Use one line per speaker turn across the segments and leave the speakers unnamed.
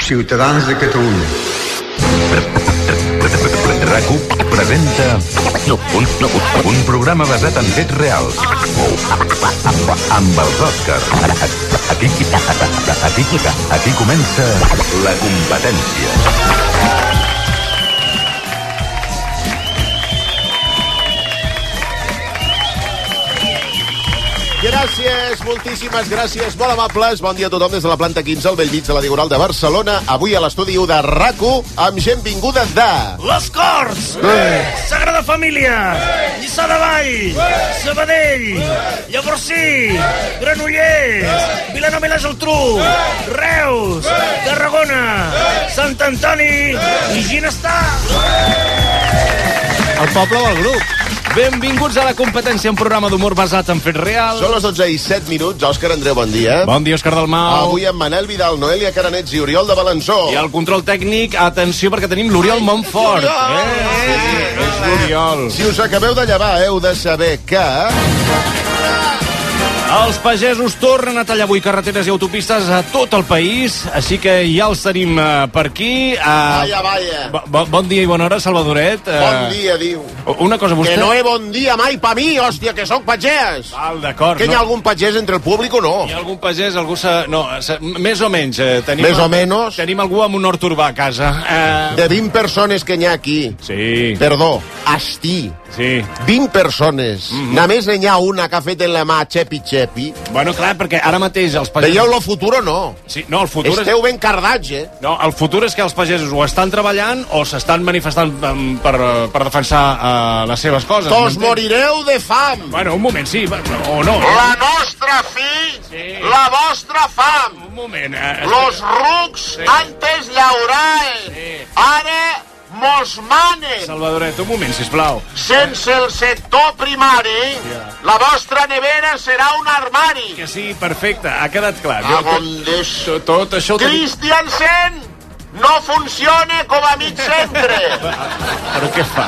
Ciutadans de Catalunya.
RAC1 presenta un, un programa basat en fets reals. Amb els Oscars. Aquí, aquí, aquí comença la competència.
Gràcies, moltíssimes gràcies, molt amables. Bon dia a tothom des de la planta 15 al Bellvig de la Diagonal de Barcelona. Avui a l'estudi 1 de rac amb gent vinguda de...
Les Corts! Eh! Sagrada Família! Eh! Lliçà de Vall! Eh! Sabadell! Eh! Llavorsí! Eh! Granollers! Eh! Vilanova i la Geltrú! Eh! Reus! Eh! Tarragona! Eh! Sant Antoni! Eh! I Ginestà!
El poble o el grup. Benvinguts a la competència, un programa d'humor basat en fets reals.
Són les 12 i 7 minuts. Òscar Andreu, bon dia.
Bon dia, Òscar Dalmau.
Avui amb Manel Vidal, Noelia Caranets i Oriol de Balançó.
I al control tècnic, atenció, perquè tenim l'Oriol Montfort.
Oriol!
Eh, eh, és l'Oriol.
Si us acabeu de llevar, heu de saber que...
Els pagesos tornen a tallar avui carreteres i autopistes a tot el país, així que ja els tenim eh, per aquí. Eh,
Vaya, vaya.
bo- bo- bon dia i bona hora, Salvadoret. Eh,
Bon dia, diu.
Una cosa, vostè...
Que no he bon dia mai pa mi, hòstia, que sóc pagès.
Val, d'acord.
Que hi ha
No.
algun pagès entre el públic o no?
Hi ha algun pagès, algú se... No, se... més o menys. Eh, tenim...
Més o menys.
Tenim algú amb un hort urbà a casa. Eh...
De 20 persones que n'hi ha aquí.
Sí,
Perdó, asti.
sí. Mhm.
20 persones. Només n'hi ha una que ha fet en la mà xepi-xepi.
Bueno, clar, perquè ara mateix els pagesos...
Veieu lo futur o no?
Sí, no, el futur, és...
Esteu ben cardats, eh?
no, el futur és que els pagesos o estan treballant o s'estan manifestant em, per, eh, per defensar eh, les seves coses.
Tots
m'entens?
morireu de fam.
Bueno, un moment, sí, va, o no. eh?
La nostra fi,
Sí.
la vostra fam.
Un moment. Eh?
Los rucs antes llauraen, ara mos manen.
Eh, Salvadoret, un moment, sisplau.
Sense el sector primari, la vostra nevera serà un armari.
Que sí, perfecte, ha quedat clar.
A on deixo?
tot, tot això... ho tenim-
Christiansen no funciona com a mig centre.
Però què fa?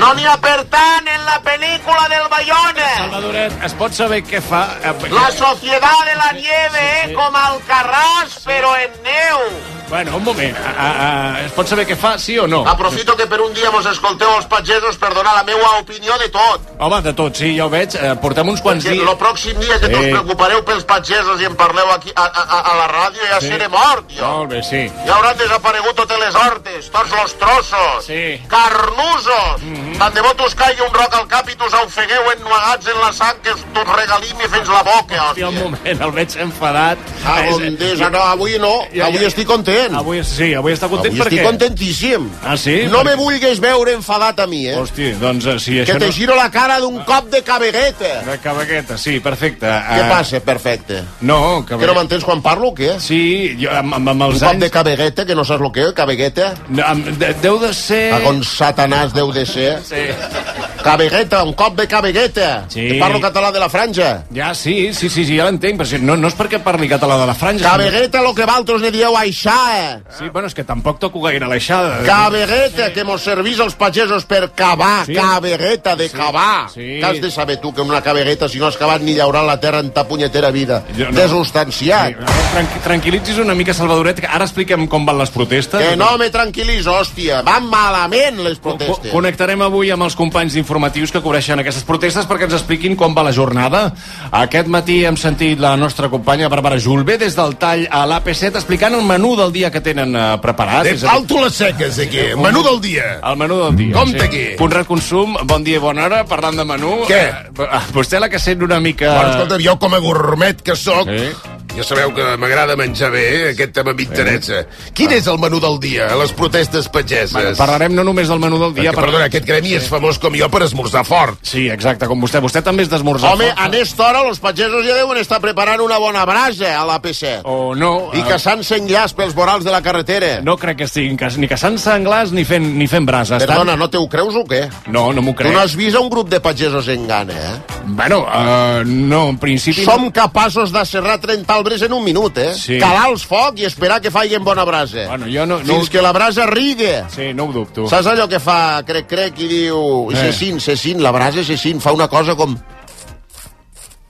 No n'hi ha, per tant, en la pel·lícula del Bayona.
Salvadoret, es pot saber què fa? Eh,
La societat de la nieve, eh, com Alcarràs, però en neu.
Bueno, un moment. A, a, a, es pot saber què fa, sí o no?
Aprofito que per un dia mos escolteu els pagesos per donar la meua opinió de tot.
Home, de tot, sí, ja ho veig. Eh, portem uns quants
Que
dies...
el pròxim dia que
Sí.
us preocupareu pels pagesos i em parleu aquí a, a, a la ràdio ja
Sí.
seré mort, jo.
Molt bé, sí.
Ja hauran desaparegut totes les hortes, tots los trossos,
Sí. Mhm.
carnusos. Mm -hmm. Tant de bo us caigui un roc al cap i us ofegueu ennuegats en la sang que us us regalim i fins la boca,
Sí, un
hòstia.
moment, el veig enfadat.
Ah,
És-
on des? Ah, no, avui no,
Ja, ja,
avui
ja.
estic content.
Avui, sí, avui està content
Avui
perquè...
estic contentíssim.
Ah, sí?
No me
Perquè-
vulguis veure enfadat a mi, eh?
Hosti, doncs eh, si
Que
això
te
no...
giro la cara d'un cop de cabegueta.
De cabagueta, sí, perfecte.
Què
Eh,
passa? Perfecte.
No, cabagueta.
Que no m'entens quan parlo o què?
Sí, jo, amb, amb, amb
Un
els
cop
anys...
de cabegueta, que no saps el que és, cabegueta?
No, amb, de, deu de ser...
A on satanàs deu de ser.
Sí.
Cabegueta, un cop de cabegueta.
Sí.
Te parlo català de la franja.
Ja, sí, sí, sí, sí ja l'entenc, però si, no, no és perquè parli català de la franja.
Cabegueta, lo que valtros ne dieu aixà.
sinó- Sí, bueno, és que tampoc toco gaire l'aixada.
Cabegueta, que mos servís als pagesos per cavar.
Sí.
Cabegueta, de cavar.
Sí.
Que has de saber tu que amb una cabegueta, si no has cavat ni llaurar la terra en ta punyetera vida.
Jo no.
Desustanciat.
Tranqui tranquil·litzis una mica, Salvadoret, que ara expliquem com van les protestes.
Que no me tranquil·lis, hòstia. Van malament les
Co- co-
protestes.
Connectarem avui amb els companys d'informatius que cobreixen aquestes protestes perquè ens expliquin com va la jornada. Aquest matí hem sentit la nostra companya Bàrbara Julve des del tall a l'AP7 explicant el menú del dia que tenen eh, preparat.
Té
és a dir,
palto les seques, aquí. eh? Menú del dia.
El menú del dia.
Compte aquí.
Conrad Consum, bon dia i bona hora. Parlant de menú...
Què?
eh, eh, vostè la que sent una mica...
Bueno, escolta, jo com a gourmet que sóc,
Ah. Sí.
ja sabeu que m'agrada menjar bé, eh? aquest tema m'interessa. Quin és el menú del dia a les protestes pageses?
Ah. Parlarem no només del menú del dia...
Perquè, perdona, aquest gremi és famós com jo per esmorzar fort.
Sí, exacte, com vostè. Vostè també és d'esmorzar.
Home,
fort.
a aquesta hora los pagesos ja deuen estar preparant una bona brasa a la P7.
O no.
I
eh,
caçant senglars pels vorals de la carretera.
No crec que estiguin cas, ni caçant senglars ni fent, ni fent brases.
Perdona, no te ho creus o què?
No, no m'ho
Tu
crec.
no has vist un grup de pagesos en gana, eh?
Bueno, uh, no, en principi...
Som capaços de serrar 30 arbres en un minut, eh?
Sí.
Calar els foc i esperar que facin bona brasa.
Bueno, jo no... no
Fins que la brasa rigue.
Sí, no ho dubto.
Saps allò que fa crec-crec i diu...
Eh.
Eh. Cecín, Cecín, la brasa Cecín fa una cosa com...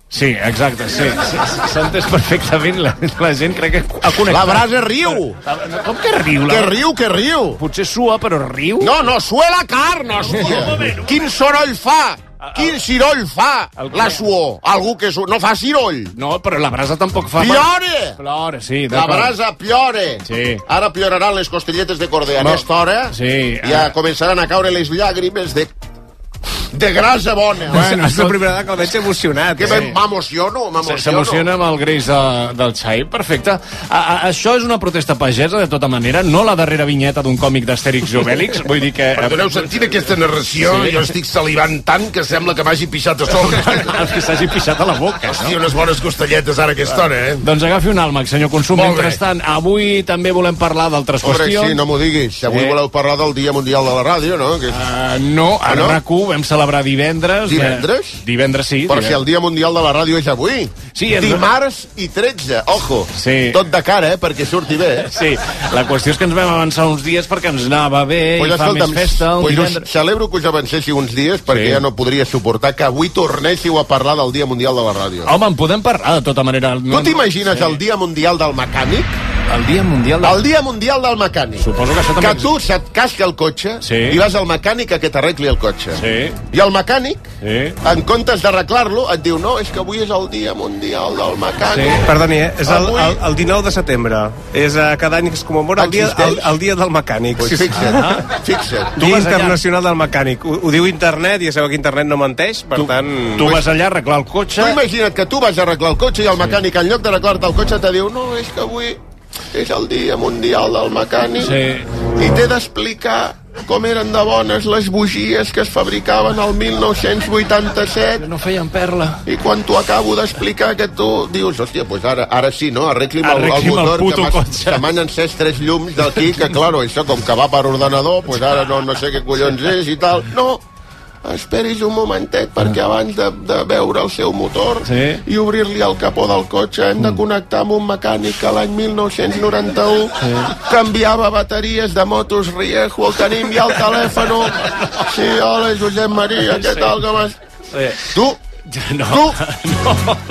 Sí, exacte, sí. sí, sí, S'ha entès perfectament. La, la gent crec que ha connectat.
La brasa riu.
Com que riu? La...
Que riu, que riu.
Potser sua, però riu?
No, no, sue la carn, no sue. Quin soroll
Ah,
fa? Quin ciroll fa la suor? Algú que su... no fa ciroll.
No, però la brasa tampoc fa...
Piore!
Plora, sí,
La
d'acord.
brasa piore.
Sí.
Ara pioraran les costelletes de cordea.
Ma-
A aquesta hora
Sí,
ja
ara.
començaran a caure les llàgrimes de, de grasa bona.
Bueno, és la primera vegada que el veig emocionat.
Que
eh?
me- m'emociono,
Se-
m'emociono.
S'emociona amb el greix de, del xai. Perfecte. A, a, això és una protesta pagesa, de tota manera, no la darrera vinyeta d'un còmic d'Astèrix i Obèlix. Vull dir que...
Perdoneu, sentint aquesta narració, sí. jo estic salivant tant que sembla que m'hagi pixat a sobre.
Els que s'hagi pixat a la boca, no?
Hòstia, unes bones costelletes ara a aquesta hora, eh?
Doncs agafi un àlmac, senyor Consum.
Molt bé.
Mentrestant, avui també volem parlar d'altres
Hombre,
qüestions.
sí, no m'ho diguis. Si avui
Eh.
voleu parlar del Dia Mundial de la Ràdio, no? Que...
Uh, no, a
Ah, no?
RAC1 vam celebrar divendres. eh,
Divendres?
divendres, sí.
Però
divendres.
si el Dia Mundial de la Ràdio és avui.
Sí, en-
Dimarts i 13, ojo.
Sí.
Tot de cara, eh, perquè surti bé. eh?
Sí, la qüestió és que ens vam avançar uns dies perquè ens anava bé i fa més festa. Un
pues us
divendres...
celebro que us avancéssiu uns dies perquè
Sí.
ja no podria suportar que avui tornéssiu a parlar del Dia Mundial de la Ràdio.
Home, en podem parlar, de tota manera.
Tu t'imagines el Dia Mundial del Mecànic?
El Dia Mundial del...
El Dia Mundial del Mecànic.
Suposo que això també
Que tu se't casca el cotxe
Sí.
i vas al mecànic a que t'arregli el cotxe.
Sí.
I el mecànic,
Sí.
en comptes d'arreglar-lo, et diu no, és que avui és el Dia Mundial del Mecànic.
Sí.
Perdoni, eh? és el,
Avui-
el, el 19 de setembre. És eh, cada any que es commemora el dia, el,
Existeix?
el dia del mecànic. Ah.
Pues fixa't, ah, fixa't.
Dia
vas allà-
Internacional del Mecànic. Ho, ho diu internet, ja sabeu que internet no menteix, per tant...
Tu vas allà a arreglar el cotxe...
Tu imagina't que tu vas a arreglar el cotxe i el mecànic, en lloc d'arreglar-te el cotxe, te diu no, és que avui és el dia mundial del mecànic
Sí.
i t'he d'explicar com eren de bones les bugies que es fabricaven al 1987
No feien perla.
i quan t'ho acabo d'explicar que tu dius, hòstia, doncs ara, ara sí, no? Arregli'm el, el
Arregli'm el
motor
puto
que m'has-
cotxe.
se m'han encès tres llums d'aquí, que claro, això com que va per ordenador, doncs ara no, no sé què collons és i tal. No, esperis un momentet perquè abans de, de veure el seu motor
Sí.
i obrir-li el capó del cotxe hem
Mm.
de connectar amb un mecànic que l'any 1991 canviava bateries de motos Riejo el tenim ja al telèfon sí, hola Josep Maria, què tal com has... tu
No.
Tu,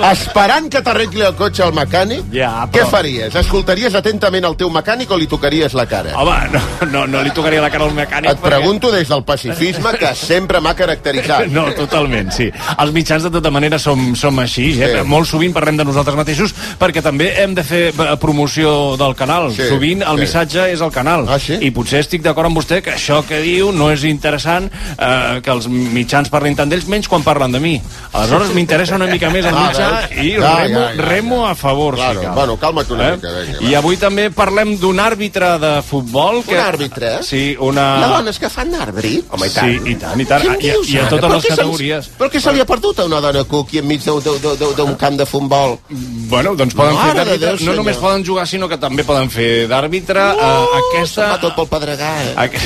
esperant que t'arregli el cotxe al mecànic,
Ja,
què
però-
faries? Escoltaries atentament el teu mecànic o li tocaries la cara?
Home, no, no, no li tocaria la cara al mecànic.
Et pregunto des del pacifisme que sempre m'ha caracteritzat.
No, totalment, sí. Els mitjans, de tota manera, som, som així. Eh?
Sí.
Molt sovint parlem de nosaltres mateixos perquè també hem de fer eh, promoció del canal.
Sí,
sovint el
sí.
missatge és el canal.
Ah, sí?
I potser estic d'acord amb vostè que això que diu no és interessant eh, que els mitjans parlin tant d'ells, menys quan parlen de mi. Aleshores m'interessa una mica més el
Ah,
mitjà
veus?
i
Ja,
remo,
ja, ja,
remo a favor.
Claro.
si cal. Eh?
Bueno, calma't una mica, vinga, va.
I avui també parlem d'un àrbitre de futbol. Que...
Un àrbitre?
Sí, una...
La dona és que fan àrbit?
Home, i tant. Sí, i tant, i tant.
Què em
I,
dius,
i a
ara?
totes
Però què
les
se li-
categories. Ah.
Però què se li ha perdut a una dona cuqui enmig d'un- d'un- d'un d'un camp de futbol?
Bueno, doncs poden
Mare
fer
de
d'àrbitre.
Déu,
No
senyor.
només poden jugar, sinó que també poden fer d'àrbitre. eh, aquesta...
Va tot pel pedregar, eh?
Aqu-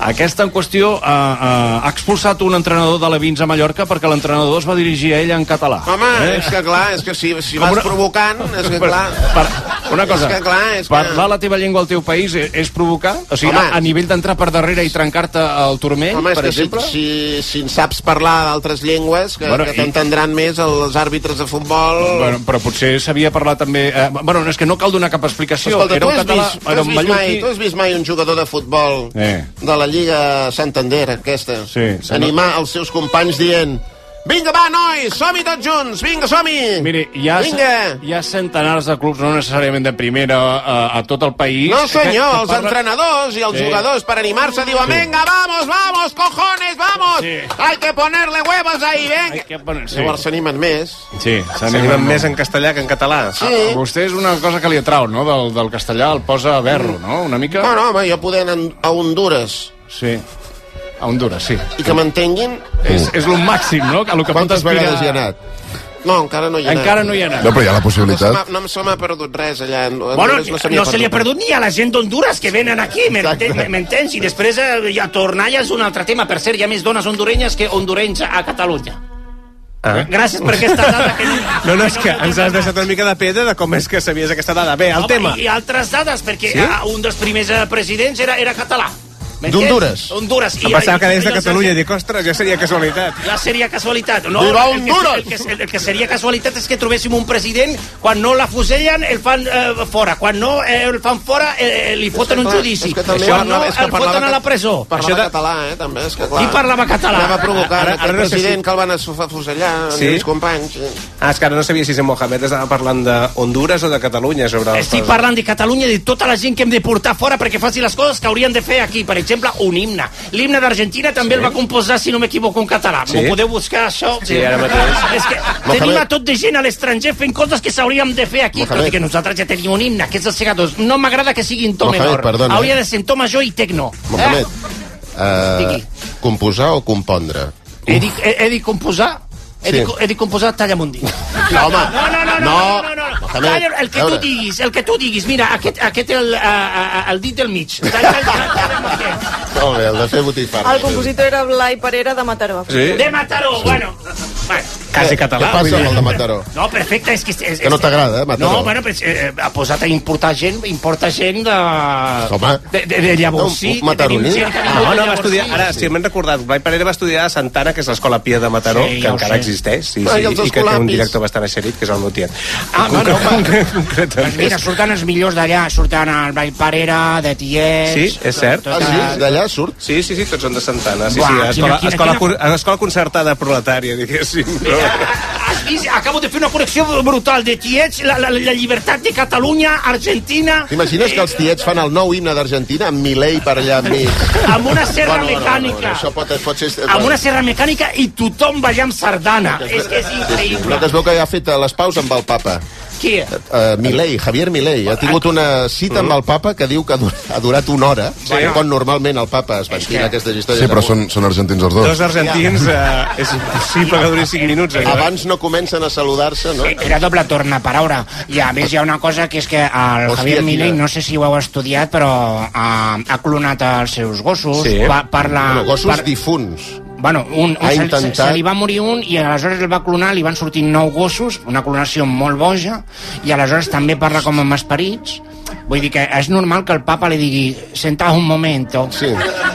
Aquesta en qüestió eh, eh, ha expulsat un entrenador de l'Avins a Mallorca perquè l'entrenador es va dirigir a ella en català.
Home, eh? és que clar, és que si, si vas
una-
una... provocant, és que clar...
Per, una cosa,
És que clar, és que-
parlar la teva llengua al teu país és, és provocar? O sigui,
Home.
a, a nivell d'entrar per darrere i trencar-te el turmell,
Home, és
per
que si,
exemple?
si, si en saps parlar d'altres llengües, que,
Bueno,
bueno, que
i-
t'entendran més els àrbitres de futbol...
Bueno, però potser s'havia parlat també... Eh, bueno, no, és que no cal donar cap explicació.
Escolta,
era
tu
un
has,
català,
vist, tu,
era
has
un
vist mai,
mallorquí.
tu has vist mai un jugador de futbol
Eh.
de la Lliga Santander, aquesta?
Sí, sí,
Animar els seus companys dient... Vinga, va, nois, som-hi tots junts! Vinga, som-hi!
Miri, hi ha,
Vinga!
hi ha centenars de clubs, no necessàriament de primera, a, a tot el país... Eh,
No, senyor,
que-
els
que parlen-
entrenadors i els
Sí.
jugadors per animar-se diuen Venga, vamos, vamos, cojones, vamos!
Sí.
Hay que ponerle huevos ahí, venga!
Ai, què ponen- Sí,
Llavors s'animen més.
sí
S'animen
s'animen
més en castellà que en català.
Sí.
A Vostè és una cosa que li atrau, no? Del, del castellà el posa a berro, no? Una mica...
Bueno, home, jo poder anar a Honduras
Sí. A Honduras, sí.
Mm. i que m'entenguin...
És, és lo màxim, no? A lo que pot
Quantes
aspirar...
vegades hi ha anat?
No, encara no hi ha anat.
Encara no hi ha anat.
No, però hi ha la
No se m'ha
possibilitat.
no se m'ha perdut res allà. A
Bueno,
Honduras se m'hi
no se li ha perdut ni a la gent d'Honduras que venen aquí, m'enten- m'entens? I després eh, ja tornar ja és un altre tema. Per cert, hi ha més dones hondurenyes que hondurenys a Catalunya.
Ah.
Gràcies per aquesta dada. Que...
No, no, és que ens has deixat una mica de pedra de com és que sabies aquesta dada. Bé, el
Home,
tema.
I, I altres dades, perquè sí? un dels primers eh, presidents eh, era, era català.
D'Honduras.
Honduras.
Em pensava que deies de Catalunya i
La,
dic, ostres, ja seria casualitat.
la seria casualitat. No,
Viva
el que,
Honduras!
el, que, el, que seria casualitat és que trobéssim un president, quan no l'afusellen, el fan eh, fora. Quan no eh, el fan fora, eh, eh, li foten un
clar,
judici.
és que també
quan no,
parlava- és que
el
parlava
foten a la
que-
presó.
Parlava de... català, eh, també, és que clar...
Qui parlava català?
Anava provocant
Ara-
ara,
ara
aquest
no sé si-
president que el van afu- afusellar, sí?
Sí?
Lluís Companys. sí.
Ah, és que ara no sabia si en Mohamed estava parlant de Honduras o de Catalunya sobre...
Eh,
les
Estic
coses.
parlant de Catalunya i de tota la gent que hem de portar fora perquè faci les coses que haurien de fer aquí. Per exemple, un himne. L'himne d'Argentina també sí. el va composar, si no m'equivoco, en català. Sí.
Sí?
M'ho podeu buscar, això? Ah,
Sí, ara mateix.
És que tenim a tot de gent a l'estranger fent coses que s'hauríem de fer aquí, tot i que nosaltres ja tenim un himne, que és el Segadors. No m'agrada que sigui en to
Mohamed,
menor.
perdona,
Hauria
eh?
de ser en to major i tecno.
Mohamed,
Digui.
eh, composar o compondre?
Eh? He, dit, he, he dit composar... He,
Sí.
dit, he dit composar Tallamundi.
No, home.
No, no, no, no, no, no, no.
Mohamed,
Talla el que
a
tu
veure.
diguis, el que tu diguis. Mira, aquest, aquest el, a, a, a, el dit del mig. Talla el- talla el aquest.
Molt bé, el de fer botifarra.
El compositor era Blai Parera de Mataró.
Sí?
De Mataró, bueno. bueno.
Quasi
Què
català.
passa amb el de Mataró?
No, perfecte, és que... És, és,
Que no t'agrada, eh, Mataró?
No, bueno, però, és, eh, ha posat a importar gent, importa gent de...
Home.
De, de, de Llavorsí.
No, mataroní.
Ah, no, va estudiar... Ara, si m'he recordat, Blai Parera va estudiar a Santana, que és l'escola Pia de Mataró,
Sí,
que
ja ho
encara
sé.
existeix, sí,
Ah,
Ai,
sí,
els
i que té un
escolapis.
director bastant eixerit, que és el meu tiet.
Ah, no, no,
Concre-
Doncs mira,
concretament.
surten els millors d'allà, surten el Blai Parera, de Tiets...
Sí, és cert.
tot
Ah, sí?
el-
D'allà surt?
Sí, sí, sí, tots són de Santana. Sí,
Buah,
sí,
quina-
escola,
quina-
escola,
quina-
cor- escola concertada proletària, diguéssim. No?
Mira, has vist? Acabo de fer una connexió brutal de Tiets, la, la, la llibertat de Catalunya, Argentina...
T'imagines que els tiets fan el nou himne d'Argentina amb Milei per allà amb mi?
Amb una serra mecànica.
això pot, pot ser... eh,
amb una serra mecànica i tothom ballar amb sardana. És que és increïble.
No, que es veu que ja ha fet eh, les paus amb el papa.
Qui?
Uh, Milei, Javier Milei, ha tingut una cita amb el papa que diu que ha dur- ha durat una hora, sí. quan normalment el papa es ventila aquestes històries.
Sí, però són, són argentins els dos.
Dos argentins, eh, és impossible que duri 5 minuts. allò, eh?
Abans no comencen a saludar-se, no?
Era doble torn a paraula. I a més hi ha una cosa que és que el
Hòstia,
Javier Milei,
quina-
no sé si ho heu estudiat, però ha, ha clonat els seus gossos.
Sí.
Va, parla,
Bueno, gossos
par-
difunts.
Bueno, un, un
Ha
se- se-
intentat-
se, li va morir un i aleshores el va clonar, li van sortir nou gossos, una clonació molt boja, i aleshores també parla com amb esperits. Vull dir que és normal que el papa li digui sentaos un moment,
Sí.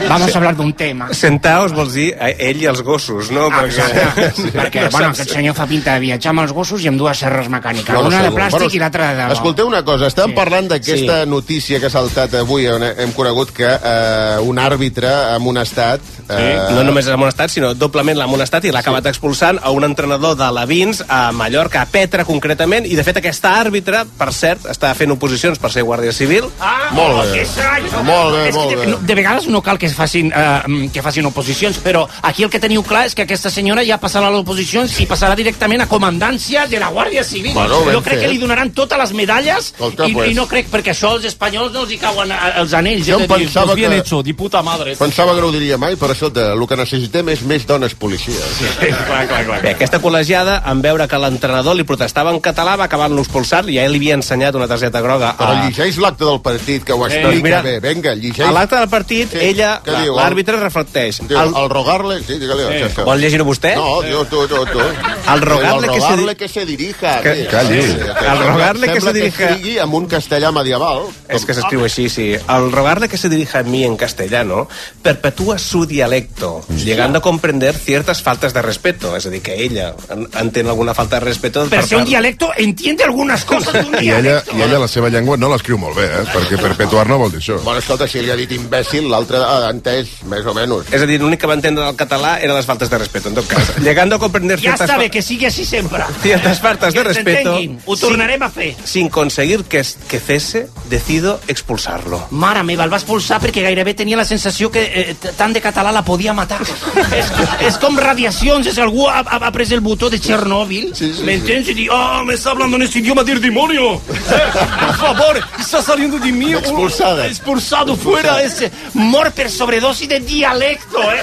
vamos a hablar d'un tema.
Sentaos vols dir a ell i els gossos, no?
Ah, Exacte,
Sí.
perquè,
No
bueno,
saps.
aquest senyor fa pinta de viatjar amb els gossos i amb dues serres mecàniques,
No, no
una
sé,
de plàstic
bueno,
i l'altra de... debò.
Escolteu una cosa, estàvem
Sí.
sí. parlant d'aquesta sí. notícia que ha saltat avui, on hem conegut que eh, un àrbitre ha amonestat... Eh,
Sí, no només l'ha amonestat, sinó doblement l'ha amonestat i l'ha acabat expulsant a un entrenador de l'Avins a Mallorca, a Petra concretament, i de fet aquesta àrbitre, per cert, està fent oposicions per ser guàrdia civil.
Ah,
Molt
oh,
bé.
que estrany.
Molt bé,
És que
molt
de,
bé.
no, de vegades no cal que es facin, eh, que facin oposicions, però aquí el que teniu clar és que aquesta senyora ja passarà a les oposicions i passarà directament a comandància de la Guàrdia Civil.
Bueno, ben
jo crec
fet.
que li donaran totes les medalles
Escolta,
i,
pues.
i no crec, perquè això als espanyols no els hi cauen eh, els anells.
Jo
eh, de
em
dir,
pensava
pues bien
que-
hecho, di puta madre.
Pensava que no ho diria mai, però escolta, el que necessitem és més dones policies. Sí.
clar, Ah, clar, clar.
Bé, aquesta col·legiada, en veure que l'entrenador li protestava en català, va acabar-lo expulsant, i ja li havia ensenyat una targeta groga
Però
a,
llegeix l'acte del partit, que ho explica
Eh,
doncs mira,
bé. Vinga, llegeix.
a l'acte del partit,
Sí,
ella,
què diu?
l'àrbitre, reflecteix.
Diu,
El,
el... rogar-le... Sí, digue-li. Sí.
vol llegir-ho vostè?
No, diu, tu, tu, tu.
Al rogarle que se
rogarle que se dirija.
Que-
sí.
calli.
Sí, sí.
Al rogarle que se dirija.
Sembla que escrigui amb un castellà medieval.
Es que se escribe así, sí. Al rogarle que se dirija a mí en castellano, perpetúa su dialecto, llegando a comprender ciertas faltas de respeto. Es decir, que ella en- entén alguna falta de respeto...
Per
per
ser un
part-
dialecto, entiende algunas cosas d'un
I ella,
dialecto.
I ella la seva llengua no l'escriu molt bé, eh? perquè perpetuar no vol dir això.
Bueno, escolta, si li ha dit imbècil, l'altre ha entès, més o menys.
És a dir, l'únic que va entendre del català era les faltes de respeto, en tot cas. Llegando a comprender
Ja
ciertas,
està bé,
fa-
que sigui així sempre.
ciertas faltas de
Que
respeto...
s'entenguin. Ho tornarem a fer.
Sin, sin conseguir que, es- que cese, decido expulsarlo.
Mare meva, el va expulsar perquè gairebé tenia la sensació que eh, t- tant de català la podia matar. és, és com radiacions, és algú ha, ha, ha pres el botó de Txernòbil, sí, sí, m'entens? Sí. I diu, oh, me está hablando en este idioma del demonio. Eh, Por favor, está saliendo de mí. un-
Expulsada.
Expulsado fuera, ese mor per sobredosi de dialecto, eh?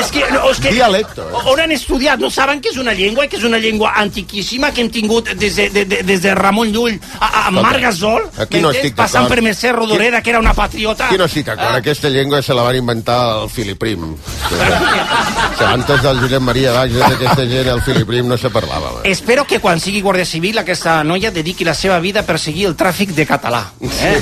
És que, no, és que
Dialecto, eh?
on han estudiat, no saben que és una llengua, que és una llengua antiquíssima que hem tingut des de, de, de, des de Ramon Llull a, a Marc Gasol,
aquí no
m'entens?
estic
passant
d'acord.
per Mercè Rodoreda, que era una patriota.
Qui no estic d'acord? Aquesta llengua se la van inventar el Filiprim.
Sí, Antes del Josep Maria Bages, d'aquesta gent, el Filiprim no se parlava. va.
Espero que quan sigui Guàrdia Civil aquesta noia dediqui la seva vida a perseguir el tràfic de català. Eh?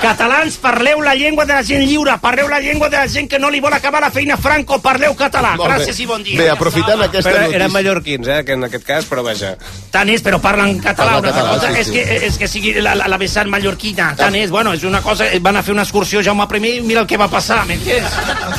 Catalans, parleu la llengua de la gent lliure, parleu la llengua de la gent que no li vol acabar la feina a Franco, parleu català.
Molt bé.
Gràcies i bon dia.
Bé, aprofitant aquesta Però eren notícia-
mallorquins, eh, que en aquest cas, però vaja. Tant és, però parlen català.
Parla
una
català,
cosa
sí, Ah.
és,
sí.
que, és que sigui la, la, la vessant mallorquina. Tant és, bueno, és una cosa... eh, Van a fer una excursió Jaume I i mira el que va passar, m'entens?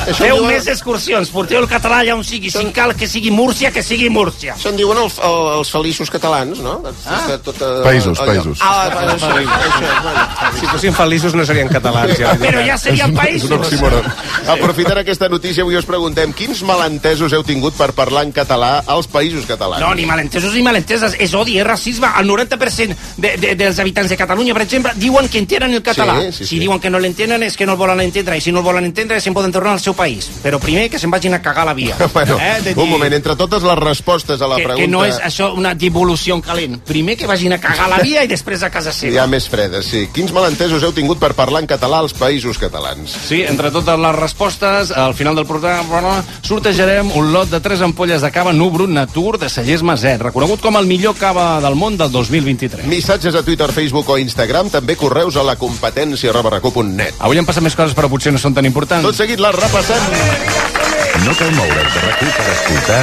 Això
Feu
diuen-
més excursions, porteu el català allà on sigui, si cal que sigui Múrcia, que sigui Múrcia.
Això en diuen el, el, els feliços catalans, no? Ah? Tot, eh,
Països,
allò.
països.
Ah, països.
Si fossin feliços no serien catalans.
Ah,
Ja.
Però ja serien
És un- és
països.
un oxímoron.
Aprofitant aquesta notícia, avui us preguntem quins malentesos heu tingut per parlar en català als països catalans?
No, ni malentesos ni malenteses. És odi, és racisme. El 90% de, de, dels habitants de Catalunya, per exemple, diuen que entenen el català.
Sí, sí,
si diuen que no l'entenen és que no el volen entendre. I si no el volen entendre se'n poden tornar al seu país. Però primer que se'n vagin a cagar a la via.
Bueno,
Eh, de dir-
un moment, entre totes les respostes a la
que,
pregunta...
que no és això una devolució en calent. Primer que vagin a cagar a la via i després a casa
Hi ha
seva.
més fredes, sí. Quins malentesos heu tingut per parlar en català als països catalans?
Sí, entre totes les respostes, al final del programa sortejarem un lot de 3 ampolles de cava Nubru Natur de Cellers Maset, reconegut com el millor cava del món del 2023.
Missatges a Twitter, Facebook o Instagram, també correus a la competència arroba recu.net.
Avui han passat més coses, però potser no són tan importants.
Tot seguit les repassem.
No cal moure's de recu per escoltar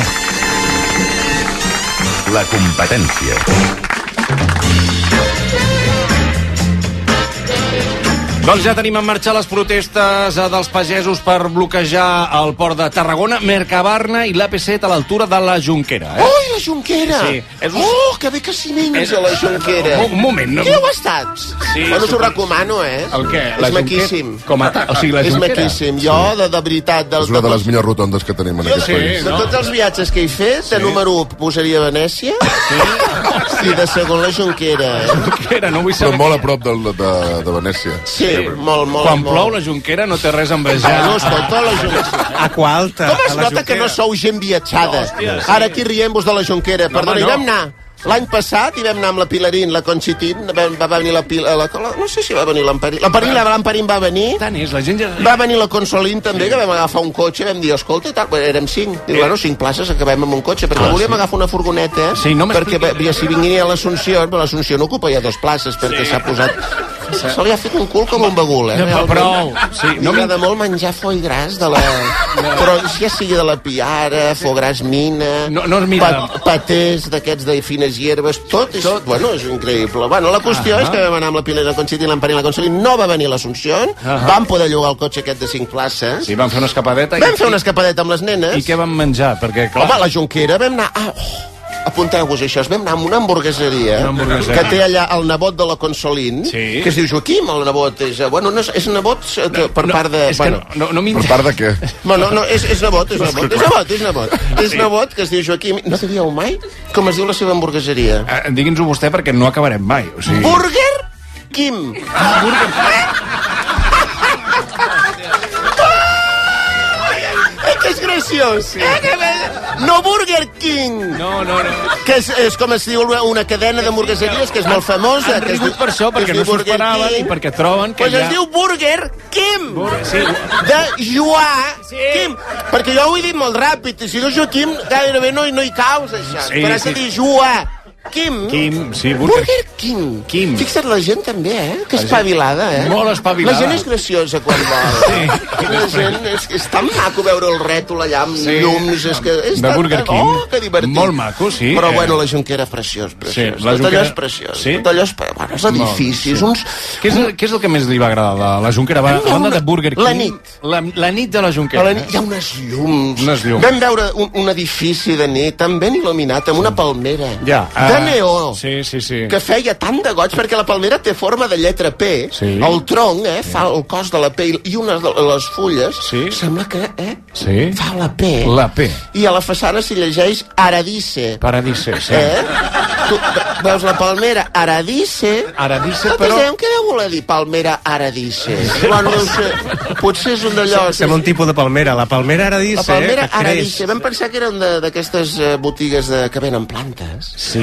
la competència.
Doncs ja tenim en marxa les protestes eh, dels pagesos per bloquejar el port de Tarragona, Mercabarna i l'AP7 a l'altura de la Junquera. Eh?
Oh,
Ui, la Junquera!
Sí, és un-
Oh, que bé que s'hi menys,
És-
a la Junquera.
Un- un moment, no-
Qui heu estat?
Sí,
bueno,
suposo-
s'ho recomano, eh?
El què?
És maquíssim.
Com a ta... o sigui, la
És
Junquera.
maquíssim. Jo, de, de veritat... Del,
És una de les millors rotondes que tenim en aquest
Sí,
país.
de tots els viatges que he fet, de número 1 posaria Venècia sí. i de segon la eh? Junquera.
Junquera, no vull
Però
saber...
molt a prop del, de, de Venècia.
Sí, molt, molt,
Quan
molt.
plou la Junquera no té res a envejar.
Ah, no, escolta, la Junquera.
A qual alta?
Com es
A la
nota que
Junquera.
no sou gent viatjada?
No, hòstia, sí.
Ara aquí riem-vos de la Junquera.
No,
Perdona,
home,
hi
no.
vam anar L'any passat hi vam anar amb la Pilarín, la Conchitín, va, va venir la, Pil, la, la... No sé si va venir l'Amperín. L'Amperín la, l'Amperín va venir.
Tant és, la gent ja...
Va venir la Consolín també, que vam agafar un cotxe, vam dir, escolta, i tal, bé, érem cinc. Diu, bueno, cinc places, acabem amb un cotxe, perquè
Ah,
ah, volíem
sí.
agafar una furgoneta,
Sí, no
perquè
m'expliquis.
bé, si vinguin a l'Assumpció, però l'Assumpció no ocupa ja dos places, perquè s'ha posat... Se li ha fet un cul com un bagul, eh?
No,
realment.
prou. Sí, no
Li agrada molt menjar foie gras de la... Però ja sigui de la piara, foie gras mina...
No- no es mira.
pa- patés d'aquests de fines hierbes, tot és... Tot. Bueno, és increïble. Bueno, la qüestió
Ah,
ah, és que vam anar amb la Pilar Conchitín, l'Amperín, la Consolín, no va venir l'Assumpció, ah,
Ah.
vam poder llogar el cotxe aquest de cinc places,
Sí, van fer una escapadeta
vam fer una escapadeta
escapadeta.
amb les nenes,
I què van menjar? Perquè, clar...
home, la Jonquera, vam anar... Ah, oh, apunteu-vos això, es vam anar a una hamburgueseria,
Una hamburgueseria.
que té allà el nebot de la Consolín,
Sí.
que es diu Joaquim, el nebot, és, eh, bueno, no és, és nebot eh, que, per
no,
part de...
És que
bueno,
no, no, no
Per
m'interessa.
part de què?
Bueno, no, és, és nebot, és nebot, és nebot, és nebot. És nebot que es diu Joaquim... No sabíeu mai com es diu la seva hamburgueseria?
Eh, Digui'ns-ho vostè perquè no acabarem mai. O sigui...
Burger Kim. Eh, que és graciós. Eh, que bé. No Burger King,
No, no, no.
que és, és com es diu una, una cadena d'hamburgueseries que és molt famosa.
Han
que es diu-
rigut per això,
que es
perquè
diu
no s'ho
Burger
esperaven i
King.
perquè troben que
Pues
hi ha...
es diu Burger Kim.
Sí,
de Joà sí. Quim. Perquè jo ho he dit molt ràpid, i si no Joaquim gairebé no, hi- no hi caus, això.
Sí,
Sí, Però has
sí.
de dir Joà Quim.
Quim, sí, Burger-
Burger King.
Quim.
Fixa't, la gent també, eh? Que
La gent-
espavilada, eh?
Molt espavilada.
La gent és graciosa quan vol.
Sí.
La gent és, és tan maco veure el rètol allà amb
Sí.
sí. llums. És que és
De
tan-
Burger King.
Oh, que divertit.
Molt maco, sí.
Però
Eh.
bueno, la Junquera és preciós, preciós.
la
Tot
Jonquera-
allò és preciós.
Sí?
Tot allò és... pre- Bueno, els edificis, sí. uns...
Què és, el, què és el que més li va agradar de la Junquera? Va,
Hi
a
ha
banda
una-
de Burger King...
la nit.
La, la nit de la Junquera.
A la nit hi ha unes llums.
Unes llums.
Vam veure un, un edifici de nit, tan ben il·luminat, amb una palmera.
Ja.
De
eh,
neó.
Sí, sí, sí.
Que feia tant de goig, perquè la palmera té forma de lletra P.
Sí.
El tronc, eh, fa el cos de la P i- i una de les fulles.
Sí.
Sembla que, eh,
Sí.
fa la P.
La P.
I a la façana s'hi llegeix Aradice.
Paradiso, sí.
Eh? Tu veus la palmera Aradice.
Aradice,
no
però-
Penseu, què deu voler dir palmera aradices? Bueno, no ho sé, potser és un d'allò...
Sembla un tipus de palmera. La palmera ara dice...
La palmera
que creix.
aradice. Vam pensar que eren de- d'aquestes eh, botigues de, que venen plantes.
Sí,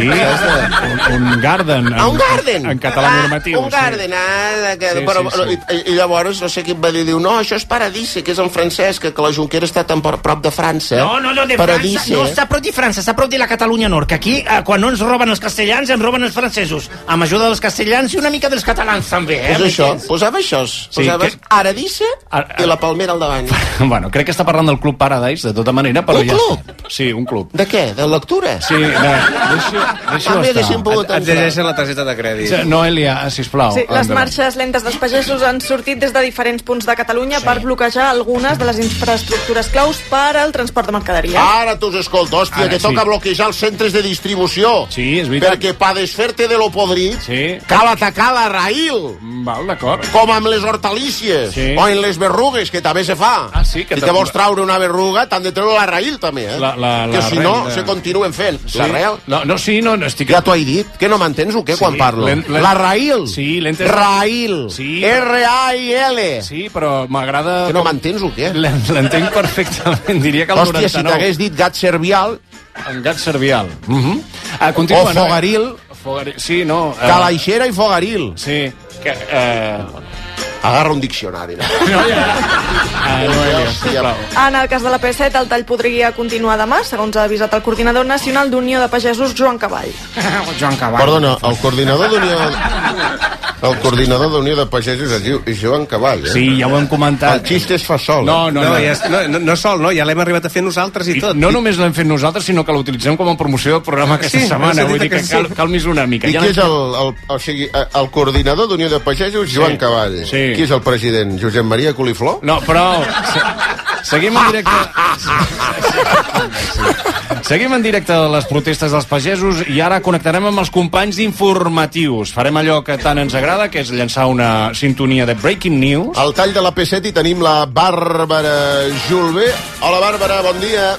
un, un garden.
Eh? Ah, un garden!
En català
ah,
normatiu.
Un garden, ah, que,
Sí,
sí, però,
sí,
sí, sí. I, i llavors no sé qui em va dir, diu, no, això és paradise, que és en francès, que, que la Junquera està tan por- prop de
Eh?
França.
No, no, no, de
paradise.
França. No, està prop de França, està prop de la Catalunya Nord, que aquí, eh, quan no ens roben els castellans, ens roben els francesos. Amb ajuda dels castellans i una mica dels catalans, també, eh?
Pues això,
m'entens?
posava això, posaves que... aradisse i la palmera al davant.
Sí. Ah, Bueno, crec que està parlant del Club Paradise, de tota manera, però
Un
ja...
club?
està. Sí, un club.
De què? De lectura? Ah,
Sí, de... deixa, deixa
També haguéssim pogut
Et llegeixen la targeta de crèdit.
Noelia, ah, sisplau.
Sí, les
endavant.
marxes lentes dels pagesos han sortit des de diferents punts de Catalunya sí. per bloquejar algunes de les infraestructures claus per al transport de mercaderies.
Ara t'us escolto, hòstia,
Ara
que
sí.
toca bloquejar els centres de distribució.
Sí, és veritat.
Perquè pa desfer-te de lo podrit
Sí.
cal atacar la raïl.
Val, d'acord.
com amb les hortalícies
Sí.
o en les berrugues, que també se fa.
Ah, sí, que
si
te-
te vols traure una berruga, t'han de treure la raïl, també, eh?
La- la- la
que si no,
raïl,
se
eh.
continuen fent.
Sí?
La raïl...
No, no, sí, no, no estic...
Ja t'ho he dit, que no m'entens o què quan parlo?
l'en- l'en-
La raïl.
Sí, l'he entès.
Raïl.
Sí.
R-A-I-L.
Sí, però m'agrada...
Que no m'entens o què?
L'en- L'entenc perfectament, diria que el
Hòstia, si
99.
t'hagués dit gat servial,
En gat servial. Uh -huh. ah,
o
continua, Noelia.
fogaril,
Fogaril. Sí, no. eh,
calaixera i fogaril.
Sí. Que, eh,
Agarra un diccionari. No?
no, ja. Ah, Noelia, sisplau.
En el cas de la P7, el tall podria continuar demà, segons ha avisat el coordinador nacional d'Unió de Pagesos, Joan Cavall.
Joan Cabal.
Perdona, el coordinador d'Unió... El coordinador d'Unió de Pagesos es diu Joan Cavall, eh?
Sí, ja ho hem comentat.
El xiste es fa sol. eh?
No, no,
No,
no.
no, ja, no, no, no sol, no, ja l'hem arribat a fer nosaltres i
I
tot.
no només l'hem fet nosaltres, sinó que l'utilitzem com a promoció del programa aquesta
Sí,
setmana.
m'has
Vull
dit
dir que,
que sí.
cal, cal més una mica.
I
Ja
qui és
l'hem-
el, el, o sigui, el coordinador d'Unió de Pagesos, Joan Cavall?
Sí.
Qui és el president? Josep Maria Coliflor?
No, però... Se... Seguim en directe... Seguim en directe de les protestes dels pagesos i ara connectarem amb els companys informatius. Farem allò que tant ens agrada, que és llançar una sintonia de Breaking News.
Al tall de la P7 hi tenim la Bàrbara Julbé. Hola, Bàrbara, bon dia.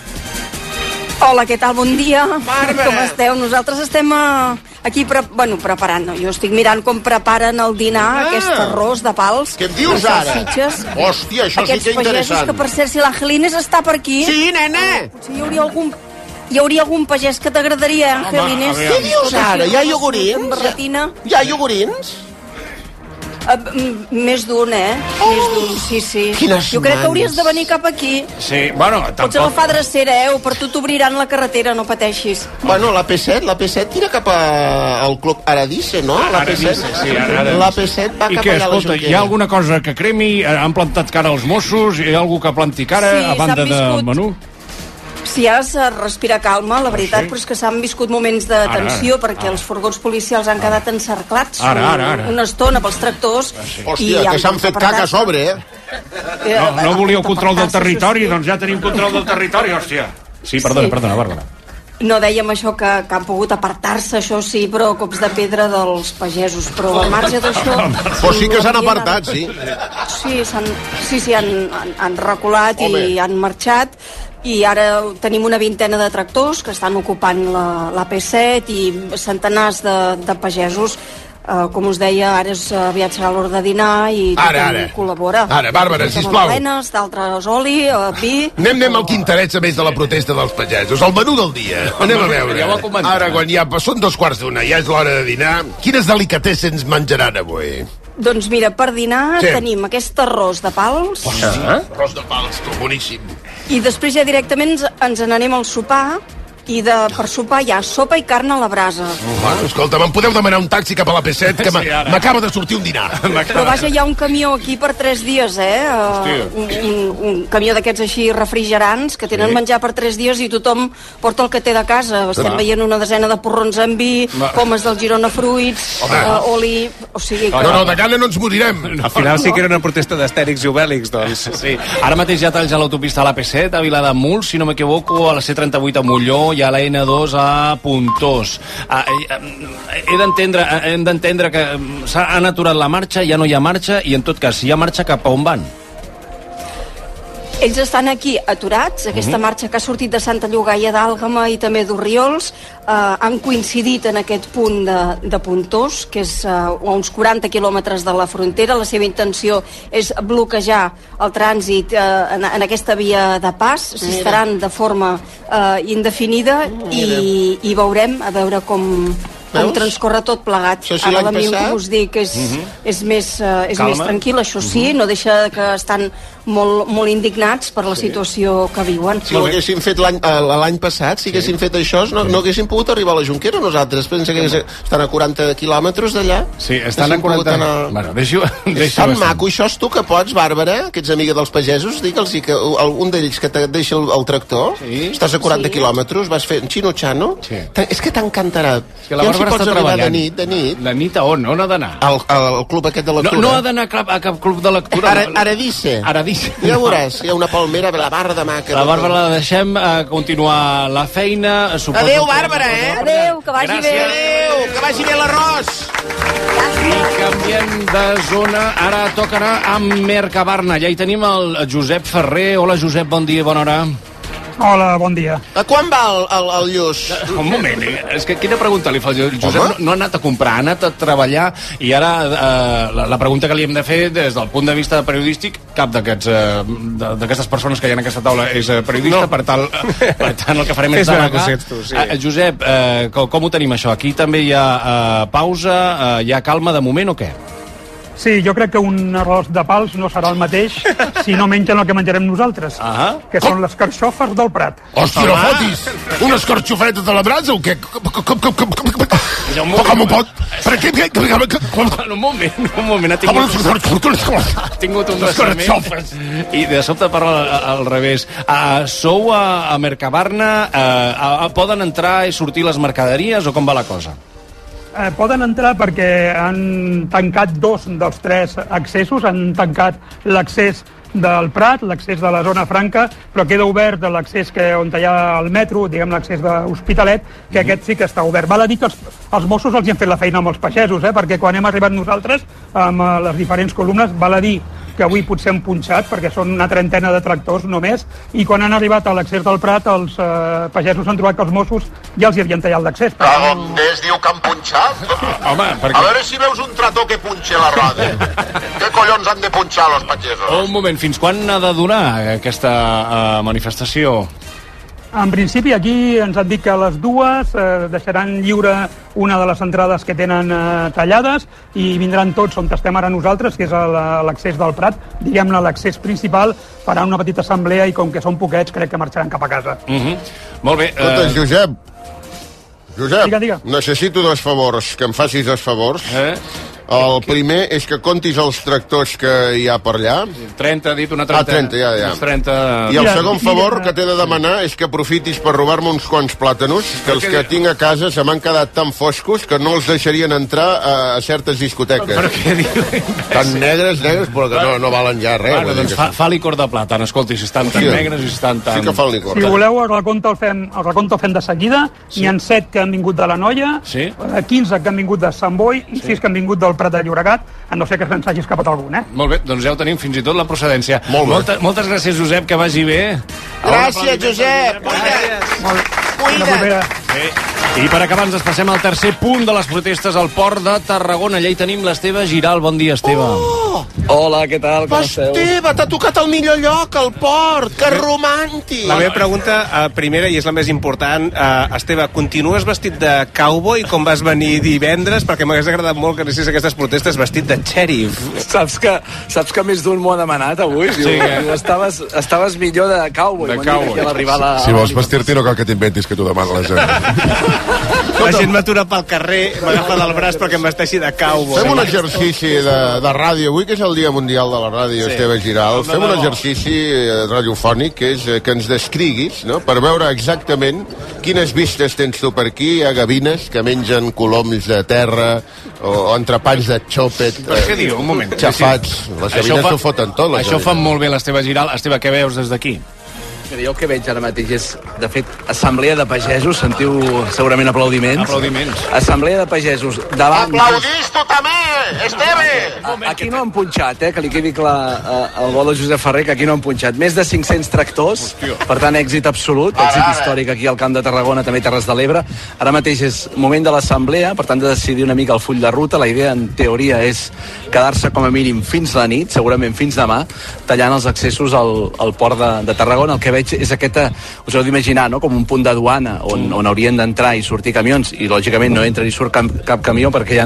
Hola, què tal? Bon dia. Bàrbara. Com esteu? Nosaltres estem eh, aquí pre bueno, preparant. No? Jo estic mirant com preparen el dinar, ah. aquest arròs de pals.
Què em dius
les
ara?
salsitxes.
Hòstia, això
Aquests
sí que
pagesos
interessant.
que, per cert, si l'Angelines està per aquí... Ah,
Sí, nena!
Potser hi hauria algun hi hauria algun pagès que t'agradaria, eh, Angelines. doncs,
Què dius ara? Hi ha
iogurins?
iogurins?
Barretina.
Hi ha iogurins?
Eh, m- més d'un, eh? Més d'un, sí, sí.
Quines
jo crec
mans.
que hauries de venir cap aquí.
Sí, bueno,
Pots
tampoc...
agafar drecera, eh? O per tu t'obriran la carretera, no pateixis.
Bueno, la P7, la P7 tira cap a, al club Aradice, no? La P7,
Aradice, sí, Aradice.
La P7 va
I
cap
què,
allà a la
escolta,
Junquera.
hi ha alguna cosa que cremi? Eh, Han plantat cara als Mossos? Hi ha algú que planti cara
Sí,
a banda
s'han viscut.
del menú?
Si has de respirar calma, la veritat,
sí.
però és que s'han viscut moments de
ara,
tensió perquè
ara.
els furgons policials han quedat encerclats
Ara, ara, ara.
una estona pels tractors.
Hòstia, que s'han fet caca a sobre, eh?
No,
Eh,
no volíeu control del territori? Doncs ja tenim control del territori, hòstia. Sí, perdona,
Sí.
perdona, Bàrbara.
No dèiem això que, que han pogut apartar-se, això sí, però a cops de pedra dels pagesos. Però al marge d'això...
Però sí que s'han
l'ambient ha-
apartat, sí.
Sí, s'han sí, sí, han, han, han reculat
Home.
i han marxat i ara tenim una vintena de tractors que estan ocupant la, la P7 i centenars de, de pagesos Uh, com us deia, ara és, eh, aviat serà l'hora de dinar i
Ara,
tothom
ara.
col·labora.
Ara, Bàrbara,
Uns amb
sisplau.
magdalenes, d'altres oli, eh, vi...
Anem, anem al que interessa més de la protesta dels pagesos, el menú del dia. Anem a veure.
Ja ho ha comentat.
Ara, quan ja són dos quarts d'una, ja és l'hora de dinar, quines delicatessens menjaran avui?
Doncs mira, per dinar
Sí.
sí. tenim aquest arròs de pals
Ah? Arròs de pals, que boníssim.
i després ja directament ens, ens n'anem al sopar i de, per sopar hi ha sopa i carn a la brasa.
Bueno, escolta, me'n podeu demanar un taxi cap a la P7, que
Sí,
m'a-
ara.
m'acaba de sortir un dinar.
Però vaja, hi ha un camió aquí per 3 dies, eh? Eh, Un, un, un camió d'aquests així refrigerants que tenen menjar per 3 dies i tothom porta el que té de casa. Estem veient una desena de porrons amb vi, pomes del Girona fruits, eh, oli... O sigui,
No, no, de gana no ens morirem.
Al final sí que era una protesta d'estèrics i obèlics, doncs.
Sí. Ara mateix ja talls a l'autopista a l'AP7, a Vilademuls, si no m'equivoco, a la C38 a Molló i a la N2 a Puntós. Ah, eh, eh, He d'entendre eh, hem d'entendre que eh, s'ha han aturat la marxa, ja no hi ha marxa, i en tot cas, si hi ha marxa, cap a on van?
ells estan aquí aturats, aquesta
Mhm.
marxa que ha sortit de Santa Llogaia d'Àlgama i també d'Oriols eh, han coincidit en aquest punt de, de Puntós, que és eh, a uns 40 quilòmetres de la frontera. La seva intenció és bloquejar el trànsit eh, en, en aquesta via de pas.
Mira.
S'estaran de forma eh, indefinida i, i veurem a veure com, com
Veus?
transcorre tot plegat.
Això sí,
Ara
l'any
la Miu,
passat.
com us dic, és,
Mhm.
és, més, eh, és més
Calma.
tranquil, això sí, no deixa que estan molt, molt indignats per la situació que viuen.
Si ho haguéssim fet l'any eh, l'any passat, si haguéssim fet això, no, no haguéssim pogut arribar a la Junquera nosaltres. Pensa que estan a 40 quilòmetres d'allà.
Sí, estan
Haguéssim
a 40...
pogut anar-
Bueno, deixo...
És
deixo
tan maco, això és tu que pots, Bàrbara, que ets amiga dels pagesos, digue'ls que algun d'ells que te deixa el, el tractor, sí. estàs a 40 sí. quilòmetres, vas fent xino-xano, sí. és que t'encantarà.
Que la
Ja ens hi
Bàrbara
pots
està
arribar
treballant.
De nit, de nit.
La nit a on? On ha d'anar?
Al, al club aquest de lectura.
No, no ha d'anar a cap- a cap club de lectura.
Ara, ara dice.
Ara dice.
Ja veuràs, hi ha una palmera, la barra de maca.
La Bàrbara la deixem a continuar la feina. Suposo
Adéu,
que-
Bàrbara, eh?
Adéu, que vagi
Gràcies.
bé.
Adéu, que vagi bé l'arròs.
I canviem de zona. Ara toca anar a Mercabarna. Ja hi tenim el Josep Ferrer. Hola, Josep, bon dia, bona hora.
Hola, bon dia.
A quan va el, el, el lluç?
Un moment, eh? és que quina pregunta li fa el Josep? No, no ha anat a comprar, ha anat a treballar i ara eh, la, la pregunta que li hem de fer des del punt de vista periodístic, cap d'aquests, eh, de- d'aquestes persones que hi ha en aquesta taula és eh, periodista, no. per, tal, eh, per tant el que farem és
Fes veure
demanar.
que ho sents tu, sí.
Eh, Josep, eh, com, com ho tenim això? Aquí també hi ha eh, pausa, eh, hi ha calma de moment o què?
Sí, jo crec que un arròs de pals no serà el mateix si no mengen el que menjarem nosaltres, uh -huh. que són les carxofes del Prat.
Hòstia, no fotis! Unes carxoferetes a la brasa o què? Com, com, com, com, com, com, com, com ho pot? Per què? què- què- què- Com,
Un moment, un moment, ha
tingut...
Ha tingut un
Les
vessament. I de sobte parla a- al revés. Uh, sou a, a Mercabarna, uh, a, a, poden entrar i sortir les mercaderies o com va la cosa?
Eh, poden entrar perquè han tancat dos dels tres accessos, han tancat l'accés del Prat, l'accés de la zona franca, però queda obert de l'accés que on hi ha el metro, diguem l'accés de Hospitalet, que aquest sí que està obert. Val a dir que els, els Mossos els hi han fet la feina amb els pagesos, eh? perquè quan hem arribat nosaltres amb eh, les diferents columnes, val a dir que avui potser han punxat, perquè són una trentena de tractors només, i quan han arribat a l'accés del Prat, els eh, pagesos han trobat que els Mossos ja els hi havien tallat l'accés.
A on es diu que han punxat?
Home,
A veure si veus un trató que punxe la roda. Què collons han de punxar los pagesos?
Un moment, fins quan ha de durar aquesta uh, manifestació?
En principi, aquí ens han dit que a les dues eh, deixaran lliure una de les entrades que tenen eh, tallades i vindran tots on estem ara nosaltres, que és a la- a l'accés del Prat, diguem-ne l'accés principal, faran una petita assemblea i com que són poquets crec que marxaran cap a casa.
Mm -hmm. Molt bé.
Escolta,
eh,
Josep,
Josep, digue, digue.
necessito dos favors, que em facis dos favors. Eh? El primer és que comptis els tractors que hi ha per allà.
30, ha dit una
Ah,
30.
30, ja, ja.
Uns 30...
I el segon favor que t'he de demanar és que aprofitis per robar-me uns quants plàtanos, que els que tinc a casa se m'han quedat tan foscos que no els deixarien entrar a, a certes discoteques. Però
què diu?
Tan negres, negres, però que no, no valen ja res.
Bueno, doncs fa, fa licor de plàtan, escolti, si estan tan
Sí.
negres i si estan tan...
Sí que fan licor.
Si voleu, el recompte el fem, el recompte el fem de seguida. Sí. N'hi ha 7 que han vingut de la Noia,
Sí.
eh, 15 que han vingut de Sant Boi i 6 que han vingut del Prat de Llobregat, a no ser que se'n s'hagi escapat algun, eh?
Molt bé, doncs ja ho tenim fins i tot la procedència. Molt bé. Molta, moltes gràcies, Josep, que vagi bé.
Gràcies, Josep. Cuida't. Cuida't.
Bé. Eh, I per acabar ens desplacem al tercer punt de les protestes al port de Tarragona. Allà hi tenim l'Esteve Giral. Bon dia, Esteve. Oh! Hola, què tal? Com
Esteve, t'ha tocat el millor lloc, el port. Que romàntic.
La meva pregunta, eh, primera i és la més important, eh, Esteve, continues vestit de cowboy com vas venir divendres? Perquè m'hagués agradat molt que anessis a aquestes protestes vestit de xèrif.
Saps que, saps que més d'un m'ho ha demanat avui?
Sí,
Diu,
eh?
diu, estaves, estaves millor de cowboy.
De
M'han dit
cowboy.
aquí a l'arribar a la...
Si vols vestir-t'hi no cal que t'inventis que t'ho demana la gent.
La gent m'atura pel carrer, m'agafa del braç perquè em vesteixi de cowboy.
Fem un exercici de, eh, de ràdio. Avui que és el Dia Mundial de la
Sí.
Ràdio, sí. Esteve Giral,
Home,
fem un
de bo.
exercici eh, radiofònic que és eh, que ens descriguis, no?, per veure exactament quines vistes tens tu per aquí. Hi ha gavines que mengen coloms de terra o, o entrepans de xòpet. eh,
Però què diu? Un moment.
Xafats. Les
Això
gavines
fa-
s'ho foten tot, les
Això fa
gavines.
molt bé l'Esteve Giral. Esteve, què veus des d'aquí?
Mira, jo el que veig ara mateix és, de fet, assemblea de pagesos, sentiu segurament aplaudiments.
Aplaudiments.
Assemblea de pagesos davant...
Aplaudís tu
Eh,
també, Esteve!
A- Ah, Aquí no han punxat, eh? que li quedi clar eh, el gol de Josep Ferrer, que aquí no han punxat. Més de 500 tractors, per tant, èxit absolut, èxit històric aquí al Camp de Tarragona, també Terres de l'Ebre. Ara mateix és moment de l'assemblea, per tant, de decidir una mica el full de ruta. La idea, en teoria, és quedar-se com a mínim fins la nit, segurament fins demà, tallant els accessos al, al port de, de Tarragona. El que veig és aquesta, us heu d'imaginar, no? com un punt de duana on, on haurien d'entrar i sortir camions, i lògicament no entra ni surt cap, cap camió perquè hi ha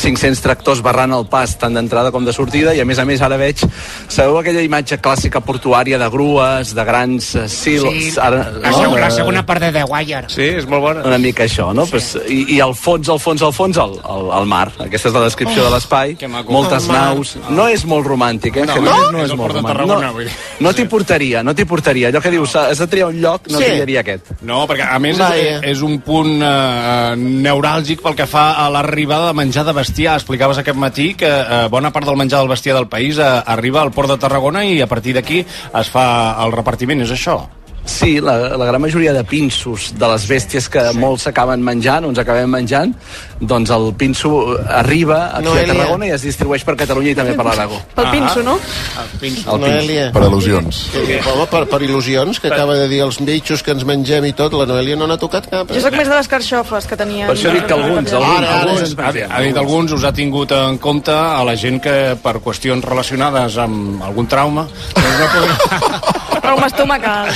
500 tractors barrant el pas tant d'entrada com de sortida i a més a més ara veig, sabeu aquella imatge clàssica portuària de grues, de grans eh, sils... ara,
La, la segona part de The Wire.
Sí, és molt bona. Una mica això, no? Pues, i, I al fons, al fons, al fons, el, el, el mar. Aquesta és la descripció de l'espai. Moltes
El mar.
naus. No és molt romàntic, eh?
No,
Que
no?
dius,
És el port de Tarragona, vull dir.
No, no t'hi portaria, no t'hi portaria. Allò que dius, has de triar un lloc, no
Sí.
triaria aquest.
No, perquè a més
Una
és,
idea.
és un punt eh, neuràlgic pel que fa a l'arribada de menjar de bestiar. Explicaves aquest matí que eh, bona part del menjar del bestiar del país eh, arriba al port de Tarragona i a partir d'aquí es fa el repartiment, és això?
Sí, la, la gran majoria de pinços de les bèsties que sí. molts s'acaben menjant o ens acabem menjant, doncs el pinso arriba aquí
Noelia.
a Tarragona i es distribueix per Catalunya i també per l'Aragó.
Pel pinso, no?
El pinso.
El Noelia.
Per
al·lusions. Per, per il·lusions, que acaba de dir els bitxos que ens mengem i tot, la Noelia no n'ha tocat cap. eh?"
Jo sóc més de les carxofes que tenien.
Ara, ara, ha, ha dit alguns, us ha tingut en compte a la gent que per qüestions relacionades amb algun trauma doncs no podrà...
Trauma estomacal.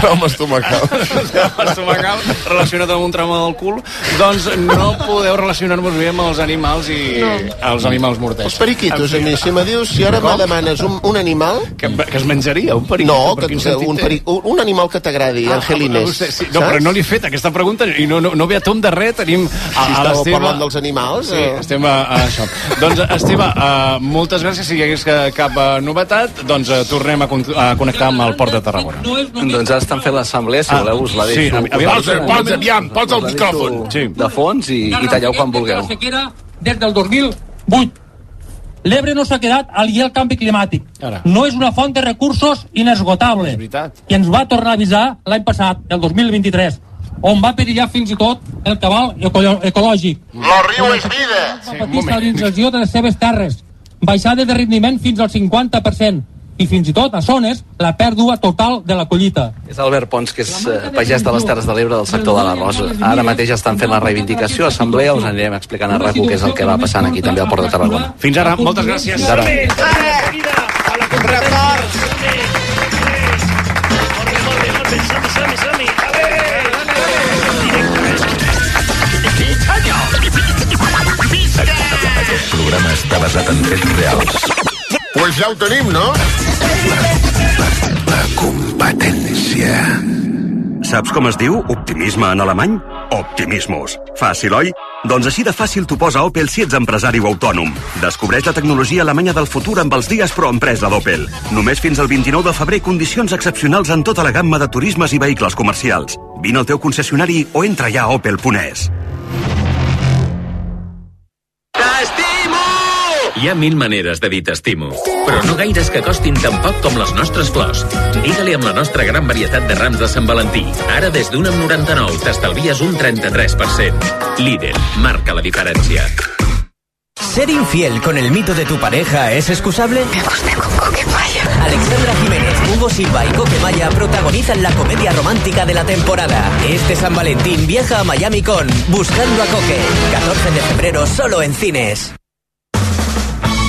trauma estomacal. trauma estomacal relacionat amb un trauma del cul. Doncs no podeu relacionar-vos bé amb els animals i no. els animals mortets.
Els periquitos, a mi, si me dius, si ara me
Com?
demanes un, un animal...
Que, que es menjaria, un periquito?
No,
Per
que,
quin
que
sentit
un,
té?
peric, un, un animal que t'agradi, ah,
Ah,
Angelines.
vostè, sí, no, però no li he fet aquesta pregunta i no, no, no ve a tom de res, tenim a,
Si
a
estàveu
l'Esteve...
parlant dels animals,
Sí,
o-
estem a, a això. doncs, Esteve, uh, moltes gràcies. Si hi hagués eh, cap uh, novetat, doncs uh, tornem a, con a connectar amb el Port de Tarragona.
Doncs ara estan fent l'assemblea, si
Ah,
voleu us la
sí,
deixo.
aviam, aviam,
us la deixo-
posa, aviam, posa el
us la deixo
micròfon. Sí.
De fons i, i talleu quan vulgueu.
La sequera des del 2008. L'Ebre no s'ha quedat al guiar el canvi climàtic. Ara. No és una font de recursos inesgotable. És veritat. I ens va tornar a avisar l'any passat, el 2023, on va perillar fins i tot el cabal eco- ecològic.
Lo Mm. riu és vida.
va patir salinització de les seves terres, baixades de rendiment fins al 50% i fins i tot a zones la pèrdua total de la collita.
És Albert Pons, que és eh, pagès de les Terres de l'Ebre del sector de la Rosa. Ara mateix estan fent la reivindicació, assemblea, us anirem explicant a RAC1 què és el que va passant aquí també al Port de Tarragona.
Fins ara, moltes gràcies.
Fins ara.
Records! Som-hi, som-hi, som-hi! A
Aquest programa està basat en fets reals.
Pues ja ho tenim, no?
Competència. Saps com es diu optimisme en alemany? Optimismus. Fàcil, oi? Doncs així de fàcil t'ho posa Opel si ets empresari o autònom. Descobreix la tecnologia alemanya del futur amb els dies pro empresa d'Opel. Només fins al 29 de febrer condicions excepcionals en tota la gamma de turismes i vehicles comercials. Vine al teu concessionari o entra ja a Opel Ponés.
Hi ha mil maneres de dir t'estimo, però no gaires que costin tan poc com les nostres flors. Digue-li amb la nostra gran varietat de rams de Sant Valentí. Ara des d'un amb 99 t'estalvies un 33%. Líder, marca la diferència.
¿Ser infiel con el mito de tu pareja es excusable? Me gusta con Coquemaya. Alexandra Jiménez, Hugo Silva y Coquemaya protagonizan la comedia romántica de la temporada. Este San Valentín viaja a Miami con Buscando a Coque. 14 de febrero solo en cines.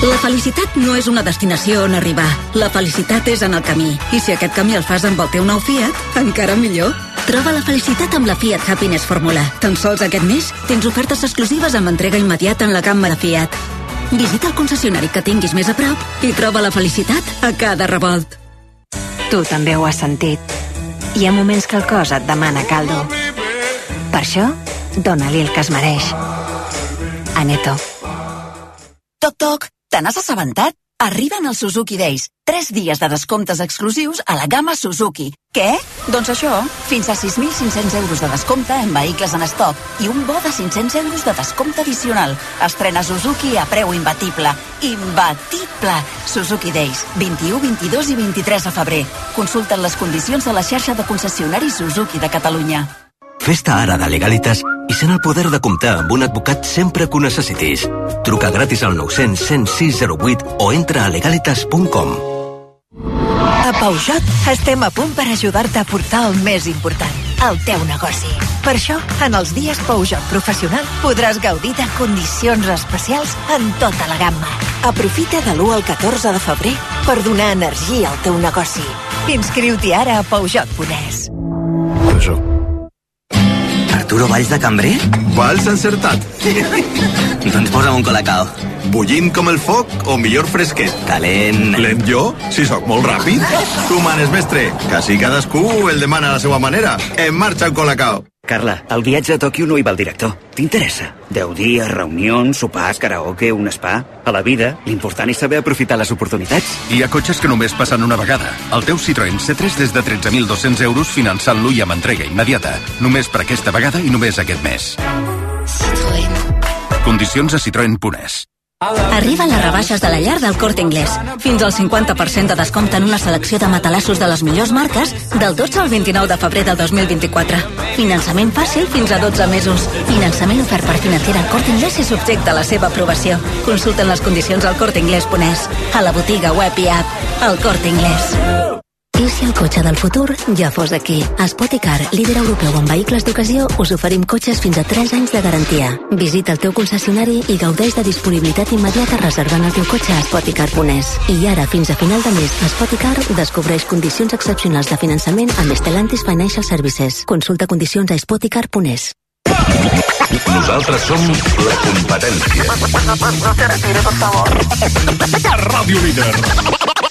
La felicitat no és una destinació on arribar. La felicitat és en el camí. I si aquest camí el fas amb el teu nou Fiat, encara millor. Troba la felicitat amb la Fiat Happiness Fórmula. Tan sols aquest mes tens ofertes exclusives amb entrega immediata en la gamma de Fiat. Visita el concessionari que tinguis més a prop i troba la felicitat a cada revolt.
Tu també ho has sentit. Hi ha moments que el cos et demana caldo. Per això, dona-li el que es mereix. Aneto.
Toc, toc, te n'has assabentat?
Arriben els Suzuki Days. 3 dies de descomptes exclusius a la gamma Suzuki. Què? Doncs això, fins a 6.500 euros de descompte en vehicles en estoc i un bo de 500 euros de descompte addicional. Estrena Suzuki a preu imbatible. Imbatible! Suzuki Days, 21, 22 i 23 de febrer. Consulten les condicions a la xarxa de concessionaris Suzuki de Catalunya.
Fes-te ara de Legalitas i sent el poder de comptar amb un advocat sempre que ho necessitis. Truca gratis al 900 106 08 o entra a legalitas.com.
A Peugeot estem a punt per ajudar-te a portar el més important, el teu negoci. Per això, en els dies Peugeot Professional podràs gaudir de condicions especials en tota la gamma.
Aprofita de l'1 al 14 de febrer per donar energia al teu negoci.
Inscriu-t'hi ara a Peugeot Pones.
Peugeot. Arturo Valls de Cambrer? Valls encertat. doncs posa'm un colacao. Bullint com el foc o millor fresquet? Calent. Lent jo? Si sóc molt ràpid. Tu manes, mestre. Quasi cadascú el demana a la seva manera. En marxa el colacao.
Carla, el viatge a Tòquio no hi va el director. T'interessa? Deu dies, reunions, sopars, karaoke, un spa... A la vida, l'important és saber aprofitar les oportunitats.
Hi ha cotxes que només passen una vegada. El teu Citroën C3 des de 13.200 euros finançant-lo i amb entrega immediata. Només per aquesta vegada i només aquest mes. Condicions a Citroën Punès.
Arriben les rebaixes de la llar del Corte Inglés. Fins al 50% de descompte en una selecció de matalassos de les millors marques del 12 al 29 de febrer del 2024. Finançament fàcil fins a 12 mesos. Finançament ofert per financera al Corte Inglés i subjecte a la seva aprovació. Consulten les condicions al Corte Inglés Ponès, a la botiga web i app. El Corte Inglés. I si el cotxe del futur ja fos aquí? A Spoticar, líder europeu en vehicles d'ocasió, us oferim cotxes fins a 3 anys de garantia. Visita el teu concessionari i gaudeix de disponibilitat immediata reservant el teu cotxe a Spoticar.es. I ara, fins a final de mes, Spoticar descobreix condicions excepcionals de finançament amb Stellantis Financial Services. Consulta condicions a Spoticar.es.
Nosaltres som la competència. Ràdio Líder.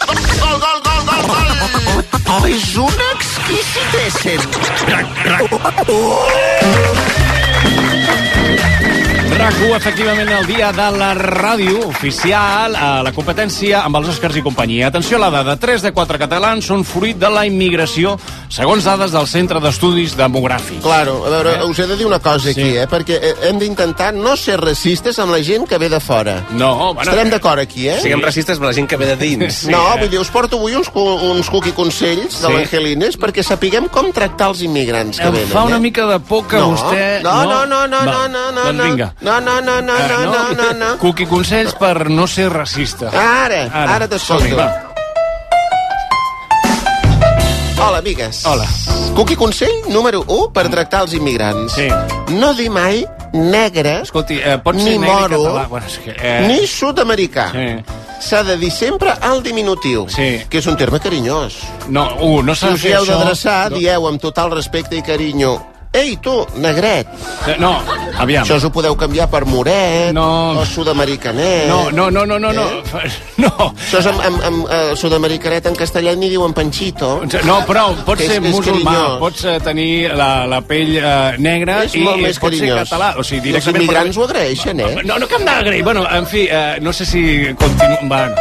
Gol, gol, gol, gol, gol!
Oh, és un exquisit ésser.
RAC1, efectivament, el dia de la ràdio oficial a la competència amb els Oscars i companyia. Atenció a la dada, 3 de 4 catalans són fruit de la immigració, segons dades del Centre d'Estudis Demogràfics.
Claro, a
Eh?
veure, us he de dir una cosa aquí, eh? Perquè eh, hem d'intentar no ser racistes amb la gent que ve de fora.
No,
bueno,
Estarem d'acord aquí, eh?
Siguem racistes amb la gent que ve de dins.
no, vull dir, us porto avui uns, cu uns cuqui consells de
Sí.
l'Angelines perquè sapiguem com tractar els immigrants que
Em
venen.
fa una
eh?
mica de por que
no,
vostè...
No, no, no, no, no,
Va,
no, no,
Doncs
no.
vinga.
No, no, no, no, no, no, no, no.
Cuqui, consells per no ser racista.
Ara, ara, ara
som-hi,
t'escolto.
va.
Ah, Hola, amigues. Hola. Cuqui consell número 1 per tractar els immigrants. Sí. No dir mai negre,
Escolti, eh, pot
ni
ser negre i
moro,
català. Bueno, és que, eh,
ni sud-americà. Sí. S'ha de dir sempre al diminutiu, sí. que és un terme carinyós.
No, uh, no
si
s'ha de
us
fer
hi heu
això.
d'adreçar,
No.
dieu amb total respecte i carinyo Ei, tu, negret.
Eh, No, aviam.
Això us ho podeu canviar per moret no. o sud-americanet. Eh?
No, no, no, no, no, Oh. no. no.
Això és amb, amb, amb eh, sud-americanet en castellà ni diuen panchito.
Doncs, No, però pot
Que
ser
que
musulmà,
carinyós.
pots eh, tenir la, la pell eh, negra
És
i
molt més
pot ser
carinyós.
català. O sigui,
I els
directament...
immigrants ho agraeixen, eh?
No, no que em d'agrair. Bueno, en fi, eh, no sé si continuem... Bueno.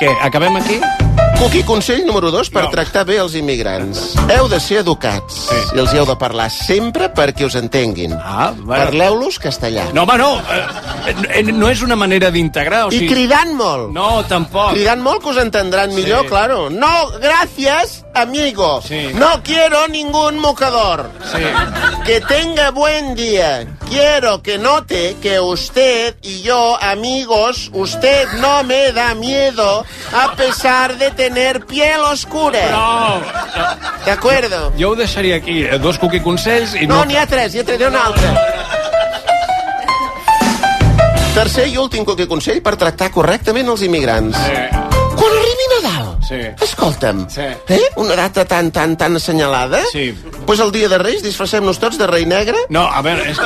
Què, acabem aquí?
Cuqui, consell número 2 per no. tractar bé els immigrants. Heu de ser educats sí. i els hi heu de parlar sempre perquè us entenguin.
Ah, bueno.
Parleu-los castellà.
No, home, no. Eh, eh, no és una manera d'integrar, Ah, o
I
sigui...
cridant molt.
No, tampoc.
Cridant molt que us entendran
Sí.
millor, claro. No, gracias, amigo. No quiero ningún mocador. Que tenga buen día. Quiero que note que usted y yo, amigos, usted no me da miedo a pesar de tener piel oscura.
No.
De acuerdo.
Jo ho deixaria aquí. eh, Dos cuqui consells i no...
No, n'hi ha tres, n'hi ha tres, n'hi ha un altre. Tercer i últim que consell per tractar correctament els immigrants. Quan arribi Nadal,
Sí.
escolta'm, sí. eh? una data tan, tan, tan assenyalada, sí.
pues el dia de Reis disfressem-nos tots de rei negre?
No, a veure, és,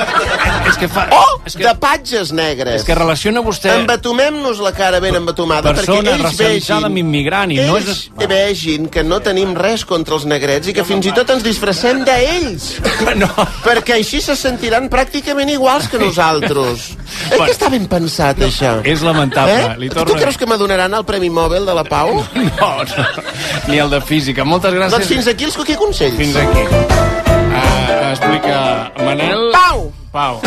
és que fa...
O és que... de patges negres.
És que relaciona vostè-
Embatomem-nos la cara ben embatomada
Persona
perquè ells
racialitzada amb
vegin...
immigrant i
ells
no és...
vegin que no tenim res contra els negrets i que fins i tot ens disfressem d'ells.
No.
Perquè així se sentiran pràcticament iguals que nosaltres. És que està ben pensat, això.
És lamentable.
Eh?
Li torno
Tu
a dir.
creus que m'adonaran el Premi Nobel de la Pau?
No, no, ni el de física. Moltes gràcies.
Doncs fins aquí els que consells.
Fins aquí. Ah, explica Manel...
Pau!
Pau.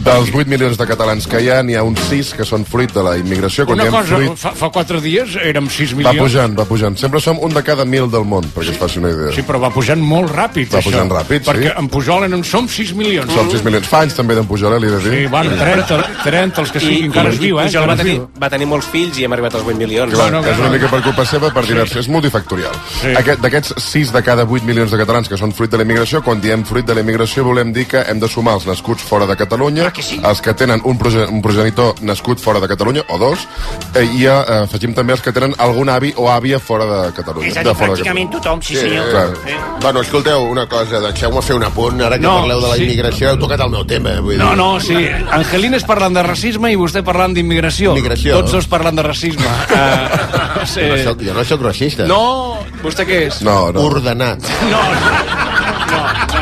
Dels 8 milions de catalans que hi ha, n'hi ha uns 6 que són fruit de la immigració. Quan
Una
diem
cosa,
fruit,
fa, fa quatre dies érem 6
va
milions.
pujant, va pujant. Sempre som un de cada mil del món, perquè sí. es faci una idea.
Sí, però va pujant molt ràpid,
Va
això.
pujant ràpid, sí.
Perquè en Pujol en som 6 milions.
Som 6 milions. Fa anys també d'en Pujol, eh, li he de dir.
Sí, bueno, 30, 30 els que siguin, encara es viu, eh?
Pujol
Encara
va
es
tenir,
viu.
va tenir molts fills i hem arribat als 8 milions.
Clar, és una mica per culpa seva, per diversos. És multifactorial.
Sí.
Aquest, D'aquests 6 de cada 8 milions de catalans que són fruit de la immigració, quan diem fruit de la immigració volem dir que hem de sumar els nascuts fora de Catalunya, que sí? els que tenen un, proge un progenitor nascut fora de Catalunya, o dos, eh, i eh, afegim també els que tenen algun avi o àvia fora de Catalunya.
És a dir,
de fora de
pràcticament
Catalunya.
tothom, sí, senyor. Eh?
Clar.
Bueno, escolteu, una cosa, deixeu-me fer un apunt. Ara que no,
No,
parleu de la
sí.
immigració, heu tocat el meu tema. Vull
No,
dir.
no, sí. Angelines parlant de racisme i vostè parlant d'immigració.
Immigració.
Tots dos parlant de racisme. Uh, sí.
Jo no soc, jo no soc racista.
No, vostè què és?
No, no.
Ordenat.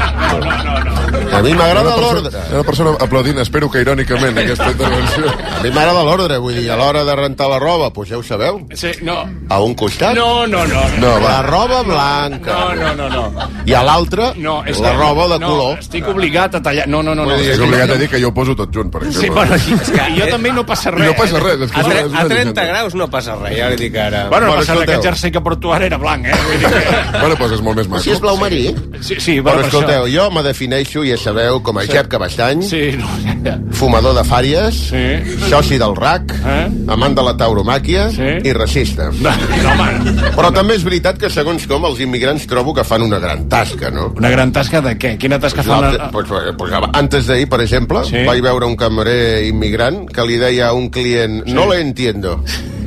A mi m'agrada
Hi ha una persona-
l'ordre.
Hi ha una persona aplaudint, espero que irònicament, aquesta intervenció.
A mi m'agrada l'ordre, vull dir, a l'hora de rentar la roba, doncs ja ho sabeu,
Sí, no.
a un costat.
No, no, no.
No, va. La roba blanca.
No, no, no, no.
I a l'altra,
No, és
la roba de
no,
color.
Estic obligat a tallar. No, no, no. no.
Estic obligat a dir que jo ho poso tot junt, per exemple.
Sí, bueno, i- és que jo també no passa res. eh?
No passa res, és que
A,
és una-
tre-
és una
a 30
llegenda.
graus no passa res, ja li dic ara.
Bueno, no passa res, aquest jersei que porto ara era blanc, eh? Vull dir que...
Bueno, doncs és molt més
maco.
Si és blau marí. Sí, sí, va,
Però
per
escolteu,
això.
jo me defineixo, ja sabeu, com a
Sí.
sí. Jep Cabestany,
sí, no, ja.
fumador de fàries,
sí.
soci del RAC, eh? amant de la tauromàquia sí. i racista. No,
no,
Però també és veritat que, segons com, els immigrants trobo que fan una gran tasca, no?
Una gran tasca de què? Quina tasca
Pues
fan?
l'altre-
a-
Pues, pues, pues, antes d'ahir, per exemple, sí. vaig veure un camarer immigrant que li deia a un client sí. no le entiendo,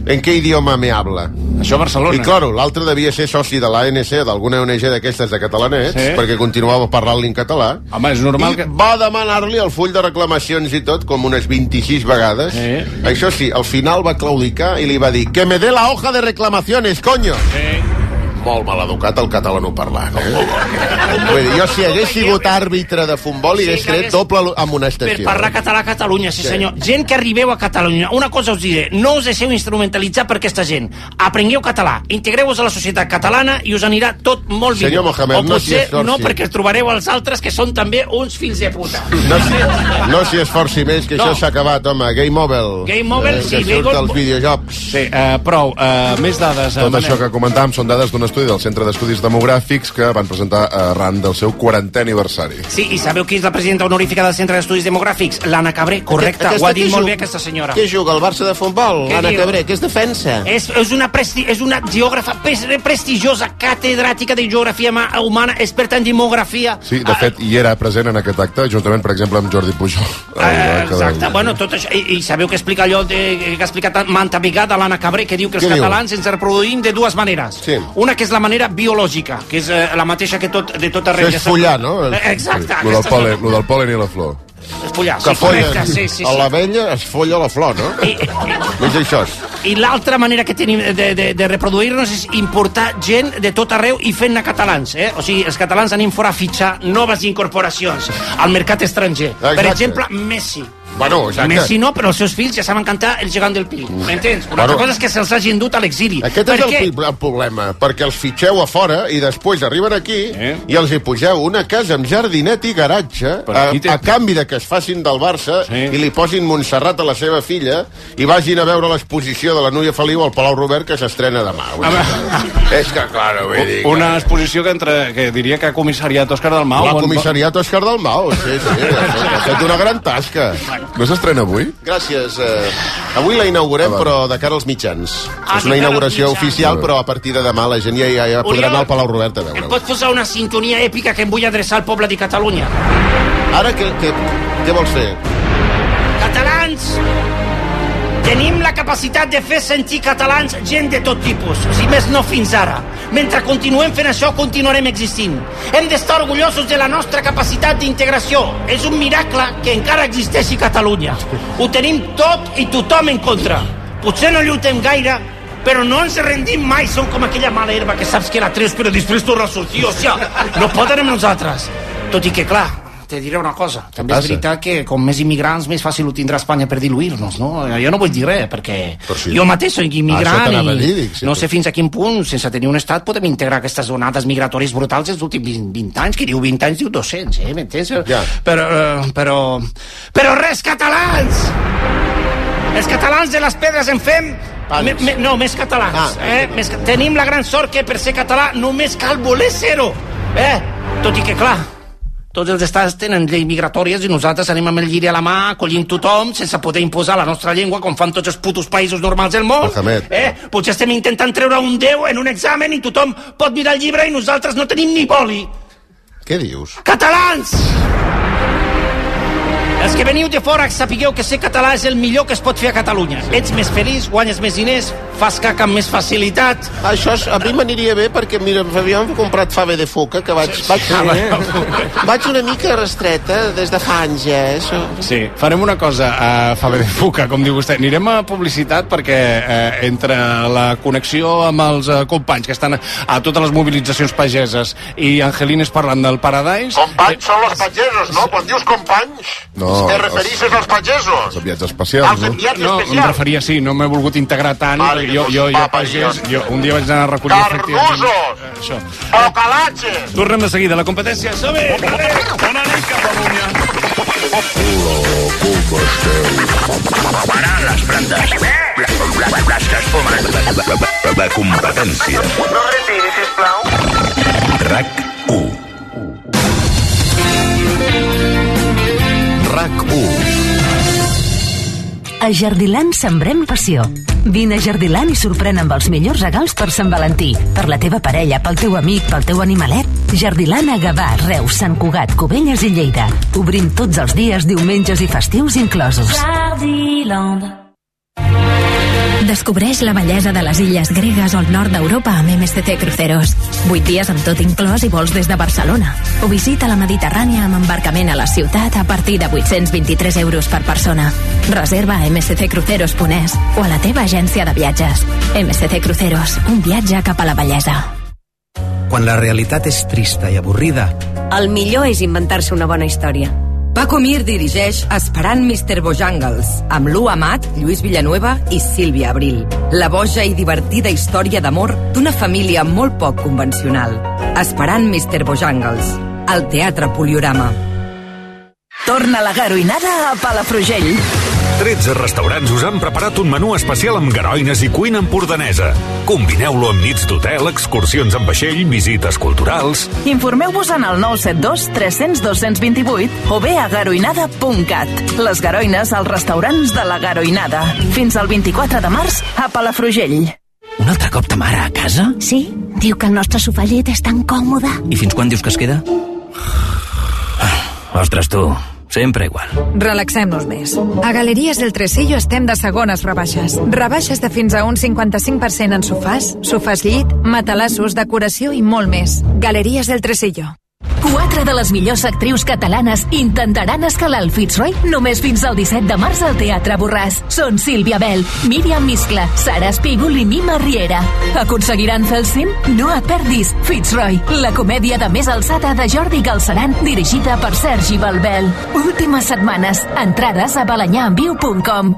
en què idioma me habla?
Això a Barcelona.
I claro, l'altre devia ser soci de l'ANC o d'alguna ONG d'aquestes de catalanets,
Sí.
sí. perquè continuava parlant-li en català.
Home, és normal
I que... va demanar-li el full de reclamacions i tot, com unes 26 vegades. Sí. Això sí, al final va claudicar i li va dir que me dé la hoja de reclamaciones, coño!
Sí.
Molt maleducat el catalanoparlant, eh?
Oh.
Vull dir, jo si hagués sigut àrbitre de futbol
Sí,
sí, hagués
que hagués-
tret doble
Per
amonestació.
parlar català a Catalunya, sí,
Sí.
senyor. Gent que arribeu a Catalunya, una cosa us diré, no us deixeu instrumentalitzar per aquesta gent. Aprengueu català, integreu-vos a la societat catalana i us anirà tot molt millor.
Senyor Mohamed,
o
no s'hi
potser
esforci.
no, perquè trobareu els altres que són també uns fills de puta.
No, s'hi- no s'hi esforci més, que no.
No.
això s'ha acabat, home. Game Mobile.
Game Over,
eh,
sí,
que
Game
surt
Over-
als videojocs.
Sí, eh, prou. Eh, més dades. eh,
Tot
Manel.
això que comentàvem són dades d'un estudi del Centre d'Estudis Demogràfics que van presentar arran del seu 40è aniversari.
Sí, i sabeu qui és la presidenta honorífica del Centre d'Estudis Demogràfics? L'Anna Cabré, correcte.
Aquest-
Ho ha dit
qui
molt
ju-
bé aquesta senyora.
Què juga, el Barça de futbol?
Què
Anna
diu?
Cabré, que és defensa.
És, és, una presti, és una geògrafa pres- prestigiosa, catedràtica de geografia ma- humana, experta en demografia.
Sí,
Ah.
de fet, hi era present en aquest acte, juntament, per exemple, amb Jordi Pujol.
Ah,
Eh, Exacte, bueno, tot això, i, i sabeu que explica allò de, que ha explicat manta vegada l'Anna Cabré, que diu que els
Què diu?
catalans ens reproduïm de dues maneres.
Sí.
Una que és la manera biològica, que és eh, la mateixa que tot, de tot arreu.
Això és follar, no?
Eh, Exacte.
Lo del,
aquesta és la-
pol·len, lo del pol·len i la flor.
és follar,
Que
sí, correcte, sí, sí,
a
sí.
l'abella es folla la flor, no? I, Més això.
I l'altra manera que tenim de, de, de reproduir-nos és importar gent de tot arreu i fent-ne catalans, eh? O sigui, els catalans anem fora a fitxar noves incorporacions al mercat estranger. Exacte. Per
Exacte.
exemple, Messi.
Bueno, exacte.
Messi no, però els seus fills ja saben cantar el gegant del Pi. M'entens? Una
Bueno.
altra cosa és que se'ls hagin dut a l'exili.
Aquest
Per
és el,
què?
pri- el problema, perquè els fitxeu a fora i després arriben aquí eh? i els hi pugeu una casa amb jardinet i garatge a, a canvi de que es facin del Barça sí. i li posin Montserrat a la seva filla i vagin a veure l'exposició de la Núria Feliu al Palau Robert que s'estrena demà. Vull dir, és que, clar, vull dir... que-
Una exposició que, entre, que diria que ha comissariat Òscar Dalmau.
L'ha
Bon-
comissariat Òscar Dalmau, sí, sí, ha fet una gran tasca.
No s'estrena avui? Ah,
Gràcies. Eh, avui la inaugurem, però de cara als mitjans.
Ah,
És una
de cara als
inauguració
mitjans.
oficial, però a partir de demà la gent ja, ja, ja podrà
Oriol,
anar al Palau Robert a veure-ho.
Pots posar una sintonia èpica que em vull adreçar al poble de Catalunya.
Ara, què, què, què vols fer?
Catalans, Tenim la capacitat de fer sentir catalans gent de tot tipus, si més no fins ara. Mentre continuem fent això, continuarem existint. Hem d'estar orgullosos de la nostra capacitat d'integració. És un miracle que encara existeixi Catalunya. Ho tenim tot i tothom en contra. Potser no lluitem gaire, però no ens rendim mai. Som com aquella mala herba que saps que la treus però després torna a sortir. O sigui, no poden amb nosaltres. Tot i que, clar, te diré una cosa. També és
passa?
veritat que com més immigrants més fàcil ho tindrà Espanya per diluir-nos, no? Eh, Jo no vull dir res, perquè
Però sí.
jo mateix soc
Això
immigrant
t'anava
i
a dir, dic, sí,
no sé fins a quin punt, sense tenir un estat, podem integrar aquestes onades migratòries brutals dels últims 20, 20 anys, que diu 20 anys, diu 200, eh? M'entens? Ja. Però, eh, però... Però res, catalans! Els catalans de les pedres en fem me, me, no, més catalans.
Ah.
eh? més, ca- tenim la gran sort que per ser català només cal voler ser-ho. Eh? Tot i que, clar, tots els estats tenen lleis migratòries i nosaltres anem amb el lliri a la mà, acollint tothom, sense poder imposar la nostra llengua com fan tots els putos països normals del món.
Mohamed.
Eh? Potser estem intentant treure un 10 en un examen i tothom pot mirar el llibre i nosaltres no tenim ni boli.
Què dius?
Catalans! Els que veniu de fora sapigueu que ser català és el millor que es pot fer a Catalunya. Sí. Ets més feliç, guanyes més diners, fas caca amb més facilitat.
Això és, a mi m'aniria bé perquè, mira, havíem comprat fava de foca, que vaig... vaig, vaig una mica restreta des de fa anys, ja, eh, això.
Sí, farem una cosa a Faber Fuca, com diu vostè. Anirem a publicitat perquè eh, entre la connexió amb els eh, companys que estan a, a totes les mobilitzacions pageses i Angelines parlant del Paradise...
Companys són els pagesos, no? Quan dius companys,
No,
te
els-
referixes als pagesos.
Els enviats especials, no?
enviats
No, em
especials.
referia, sí, no m'he volgut integrar tant. Vale, jo, jo, jo, pagès, jo, un dia vaig anar a recollir... efectivament,
Carnusos!
eh, Això.
Ocalatges!
Tornem de seguida a la competència. Som-hi! Bona nit, Catalunya!
Parar les brandes.
Eh?
Les que es fumen. La competència.
No retiri, sisplau.
RAC1. RAC1.
A Jardiland sembrem passió. Vine a Jardiland i sorprèn amb els millors regals per Sant Valentí, per la teva parella, pel teu amic, pel teu animalet. Jardiland a Gavà, Reus, Sant Cugat, Cubelles i Lleida. Obrim tots els dies, diumenges i festius inclosos.
Jardiland.
Descobreix la bellesa de les illes gregues o el nord d'Europa amb MSC Cruceros. 8 dies amb tot inclòs i vols des de Barcelona. O visita la Mediterrània amb embarcament a la ciutat a partir de 823 euros per persona. Reserva a msccruceros.es o a la teva agència de viatges. MSC Cruceros, un viatge cap a la bellesa.
Quan la realitat és trista i avorrida,
El millor és inventar-se una bona història.
Paco Mir dirigeix Esperant Mr. Bojangles, amb Lu Amat, Lluís Villanueva i Sílvia Abril. La boja i divertida història d'amor d'una família molt poc convencional. Esperant Mr. Bojangles, al Teatre Poliorama.
Torna la garoinada a Palafrugell.
13 restaurants us han preparat un menú especial amb garoines i cuina empordanesa. Combineu-lo amb nits d'hotel, excursions amb vaixell, visites culturals...
Informeu-vos en el 972 300 228 o bé a garoinada.cat. Les garoines als restaurants de la Garoinada. Fins al 24 de març a Palafrugell.
Un altre cop ta mare a casa?
Sí? Diu que el nostre sofà llit és tan còmode.
I fins quan dius que es queda? Ah, Ostres, tu, sempre igual.
Relaxem-nos més. A Galeries del Tresillo estem de segones rebaixes. Rebaixes de fins a un 55% en sofàs, sofàs llit, matalassos, decoració i molt més. Galeries del Tresillo.
Quatre de les millors actrius catalanes intentaran escalar el Fitzroy només fins al 17 de març al Teatre Borràs. Són Sílvia Bell, Míriam Miscla, Sara Espígol i Mima Riera. Aconseguiran fer el cim? No et perdis Fitzroy, la comèdia de més alçada de Jordi Galceran, dirigida per Sergi Balbel. Últimes setmanes. Entrades a balanyaenviu.com.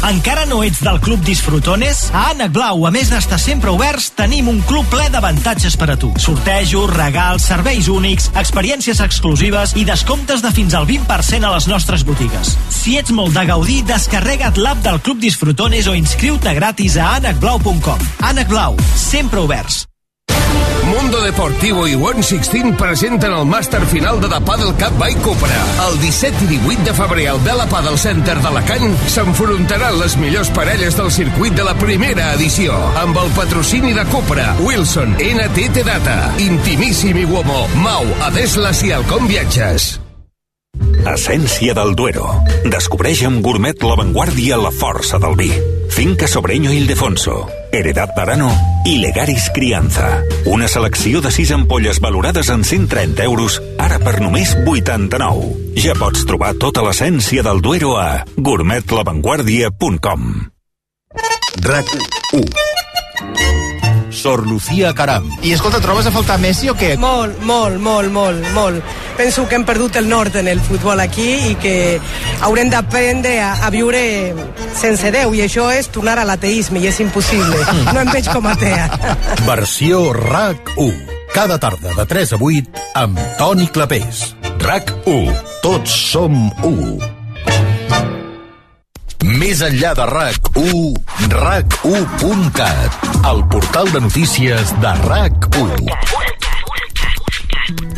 Encara no ets del Club Disfrutones? A Ànec Blau, a més d'estar sempre oberts, tenim un club ple d'avantatges per a tu. Sortejos, regals, serveis únics, experiències exclusives i descomptes de fins al 20% a les nostres botigues. Si ets molt de gaudir, descarrega't l'app del Club Disfrutones o inscriu-te gratis a anacblau.com. Ànec Blau, sempre oberts.
Mundo Deportivo i One Sixteen presenten el màster final de The Paddle Cup by Cupra. El 17 i 18 de febrer al Bela Paddle Center d'Alacant s'enfrontaran les millors parelles del circuit de la primera edició amb el patrocini de Cupra, Wilson, NTT Data, Intimíssim i Uomo, Mau, Adeslas i Alcom Viatges.
Essència del Duero. Descobreix amb Gourmet l'avantguàrdia la força del vi. Finca Sobreño Ildefonso, Heredat Barano i Legaris Crianza. Una selecció de 6 ampolles valorades en 130 euros, ara per només 89. Ja pots trobar tota l'essència del Duero a gourmetlavanguardia.com
RAC 1 Sor Lucía Caram.
I escolta, trobes a faltar Messi o què?
Molt, molt, molt, molt, molt. Penso que hem perdut el nord en el futbol aquí i que haurem d'aprendre a, a viure sense Déu i això és tornar a l'ateisme i és impossible. No em veig com a atea.
Versió RAC 1. Cada tarda de 3 a 8 amb Toni Clapés. RAC 1. Tots som 1. Més enllà de RAC 1, RAC1.cat, el portal de notícies de RAC 1.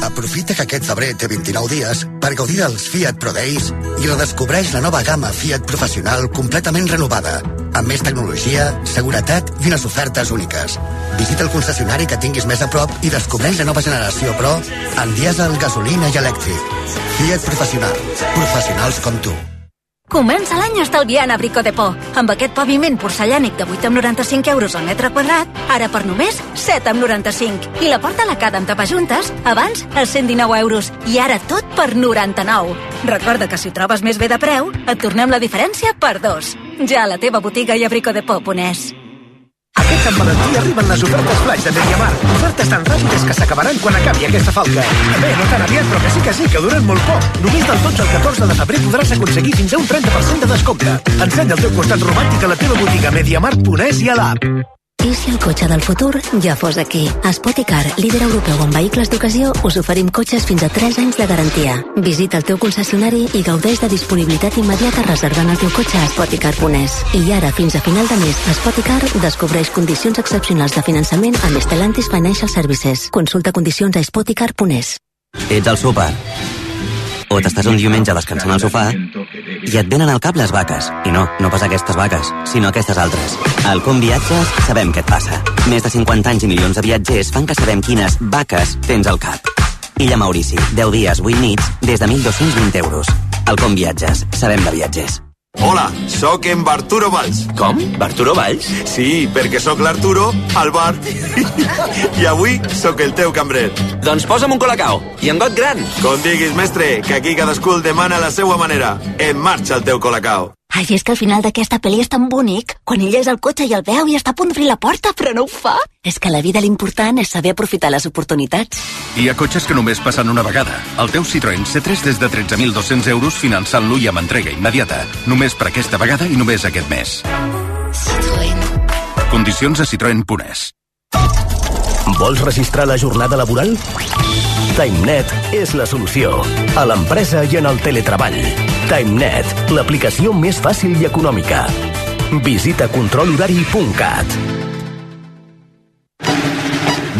Aprofita que aquest febrer té 29 dies per gaudir dels Fiat Pro Days i redescobreix la nova gamma Fiat Professional completament renovada, amb més tecnologia, seguretat i unes ofertes úniques. Visita el concessionari que tinguis més a prop i descobreix la nova generació Pro en dièsel, gasolina i elèctric. Fiat Professional. Professionals com tu.
Comença l'any estalviant a Brico de Por. Amb aquest paviment porcellànic de 8,95 euros al metre quadrat, ara per només 7,95. I la porta a la cada amb tapajuntes, abans a 119 euros, i ara tot per 99. Recorda que si ho trobes més bé de preu, et tornem la diferència per dos. Ja a la teva botiga i a bricodepor.es.
Aquest Sant Valentí arriben les ofertes flash de Mediamar. Ofertes tan ràpides que s'acabaran quan acabi aquesta falca. Bé, no tan aviat, però que sí que sí, que duren molt poc. Només del 12 al 14 de febrer podràs aconseguir fins a un 30% de descompte. Ensenya el teu costat romàntic a la teva botiga Mediamar.es i a l'app.
I si el cotxe del futur ja fos aquí? A Spoticar, líder europeu en vehicles d'ocasió, us oferim cotxes fins a 3 anys de garantia. Visita el teu concessionari i gaudeix de disponibilitat immediata reservant el teu cotxe a Spoticar.es. I ara, fins a final de mes, Spoticar descobreix condicions excepcionals de finançament amb Stellantis Financial Services. Consulta condicions a Spoticar.es.
Ets al súper. O t'estàs un diumenge descansant al sofà i et venen al cap les vaques. I no, no pas aquestes vaques, sinó aquestes altres. Al Com Viatges sabem què et passa. Més de 50 anys i milions de viatgers fan que sabem quines vaques tens al cap. Illa Maurici, 10 dies, 8 nits, des de 1.220 euros. Al Com Viatges, sabem de viatgers.
Hola, sóc en Barturo Valls. Com? Barturo Valls? Sí, perquè sóc l'Arturo al bar i avui sóc el teu cambrer. Doncs posa'm un colacao i en got gran. Com diguis, mestre, que aquí cadascú el demana a la seva manera. En marxa el teu colacao.
Ai, és que al final d'aquesta pel·li és tan bonic, quan ell és al cotxe i el veu i està a punt d'obrir la porta, però no ho fa. És que a la vida l'important és saber aprofitar les oportunitats.
Hi ha cotxes que només passen una vegada. El teu Citroën C3 des de 13.200 euros finançant-lo i amb entrega immediata. Només per aquesta vegada i només aquest mes. Citroën. Condicions a citroen.es.
Vols registrar la jornada laboral? TimeNet és la solució. A l'empresa i en el teletreball. TimeNet, l'aplicació més fàcil i econòmica. Visita controlhorari.cat.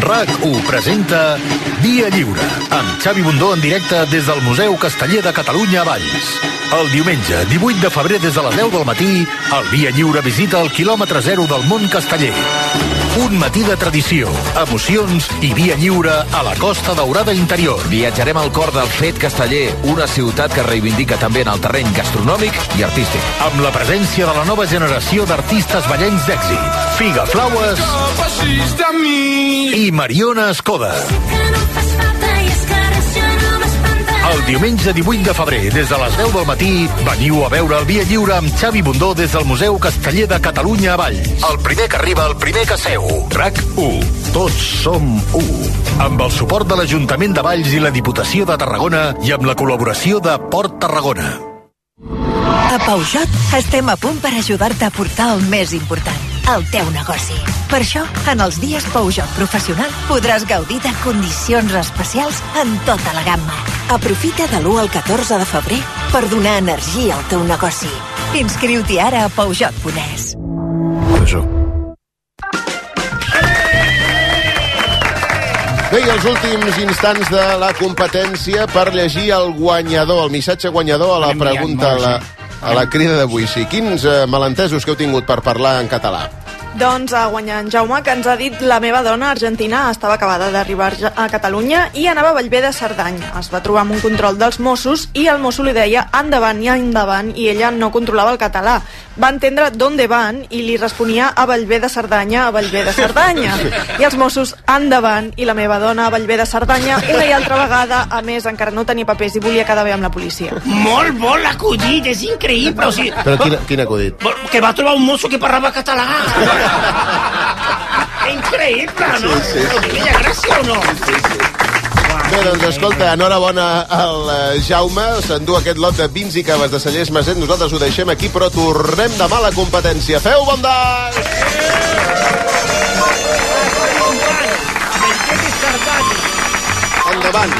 RAC1 presenta Dia Lliure, amb Xavi Bundó en directe des del Museu Casteller de Catalunya a Valls. El diumenge, 18 de febrer, des de les 10 del matí, el Dia Lliure visita el quilòmetre zero del món casteller. Un matí de tradició, emocions i via lliure a la Costa Daurada Interior.
Viatjarem al cor del fet casteller, una ciutat que reivindica també en el terreny gastronòmic i artístic.
Amb la presència de la nova generació d'artistes ballencs d'èxit, Figa Flaues i Mariona Escoda. El diumenge 18 de febrer, des de les 10 del matí, veniu a veure el Via Lliure amb Xavi Bundó des del Museu Casteller de Catalunya a Valls. El primer que arriba, el primer que seu. RAC 1. Tots som 1. Amb el suport de l'Ajuntament de Valls i la Diputació de Tarragona i amb la col·laboració de Port Tarragona.
A Peugeot estem a punt per ajudar-te a portar el més important, el teu negoci. Per això, en els dies Peugeot Professional podràs gaudir de condicions especials en tota la gamma.
Aprofita de l'1 al 14 de febrer per donar energia al teu negoci.
Inscriu-t'hi ara a Peugeot.es.
Peugeot.
Bé, i els últims instants de la competència per llegir el guanyador, el missatge guanyador a la pregunta, a la, a la crida d'avui. Sí, quins eh, malentesos que heu tingut per parlar en català?
Doncs a guanyar en Jaume, que ens ha dit la meva dona argentina estava acabada d'arribar a Catalunya i anava a Bellver de Cerdanya. Es va trobar amb un control dels Mossos i el mosso li deia endavant i endavant i ella no controlava el català. Va entendre d'on van i li responia a Bellver de Cerdanya, a Bellver de Cerdanya. I els Mossos endavant i la meva dona a Bellver de Cerdanya una i altra vegada, a més encara no tenia papers i volia quedar bé amb la policia.
Molt bo l'acudit, és increïble. O sigui,
Però quin, quin acudit?
que va trobar un mosso que parlava català. increïble, no? Sí, sí. Quina gràcia o no? Sí, sí.
Bé, doncs escolta, enhorabona al eh, Jaume, s'endú aquest lot de vins i caves de Cellers Maset, nosaltres ho deixem aquí, però tornem demà a la competència. Feu bon dag! Endavant!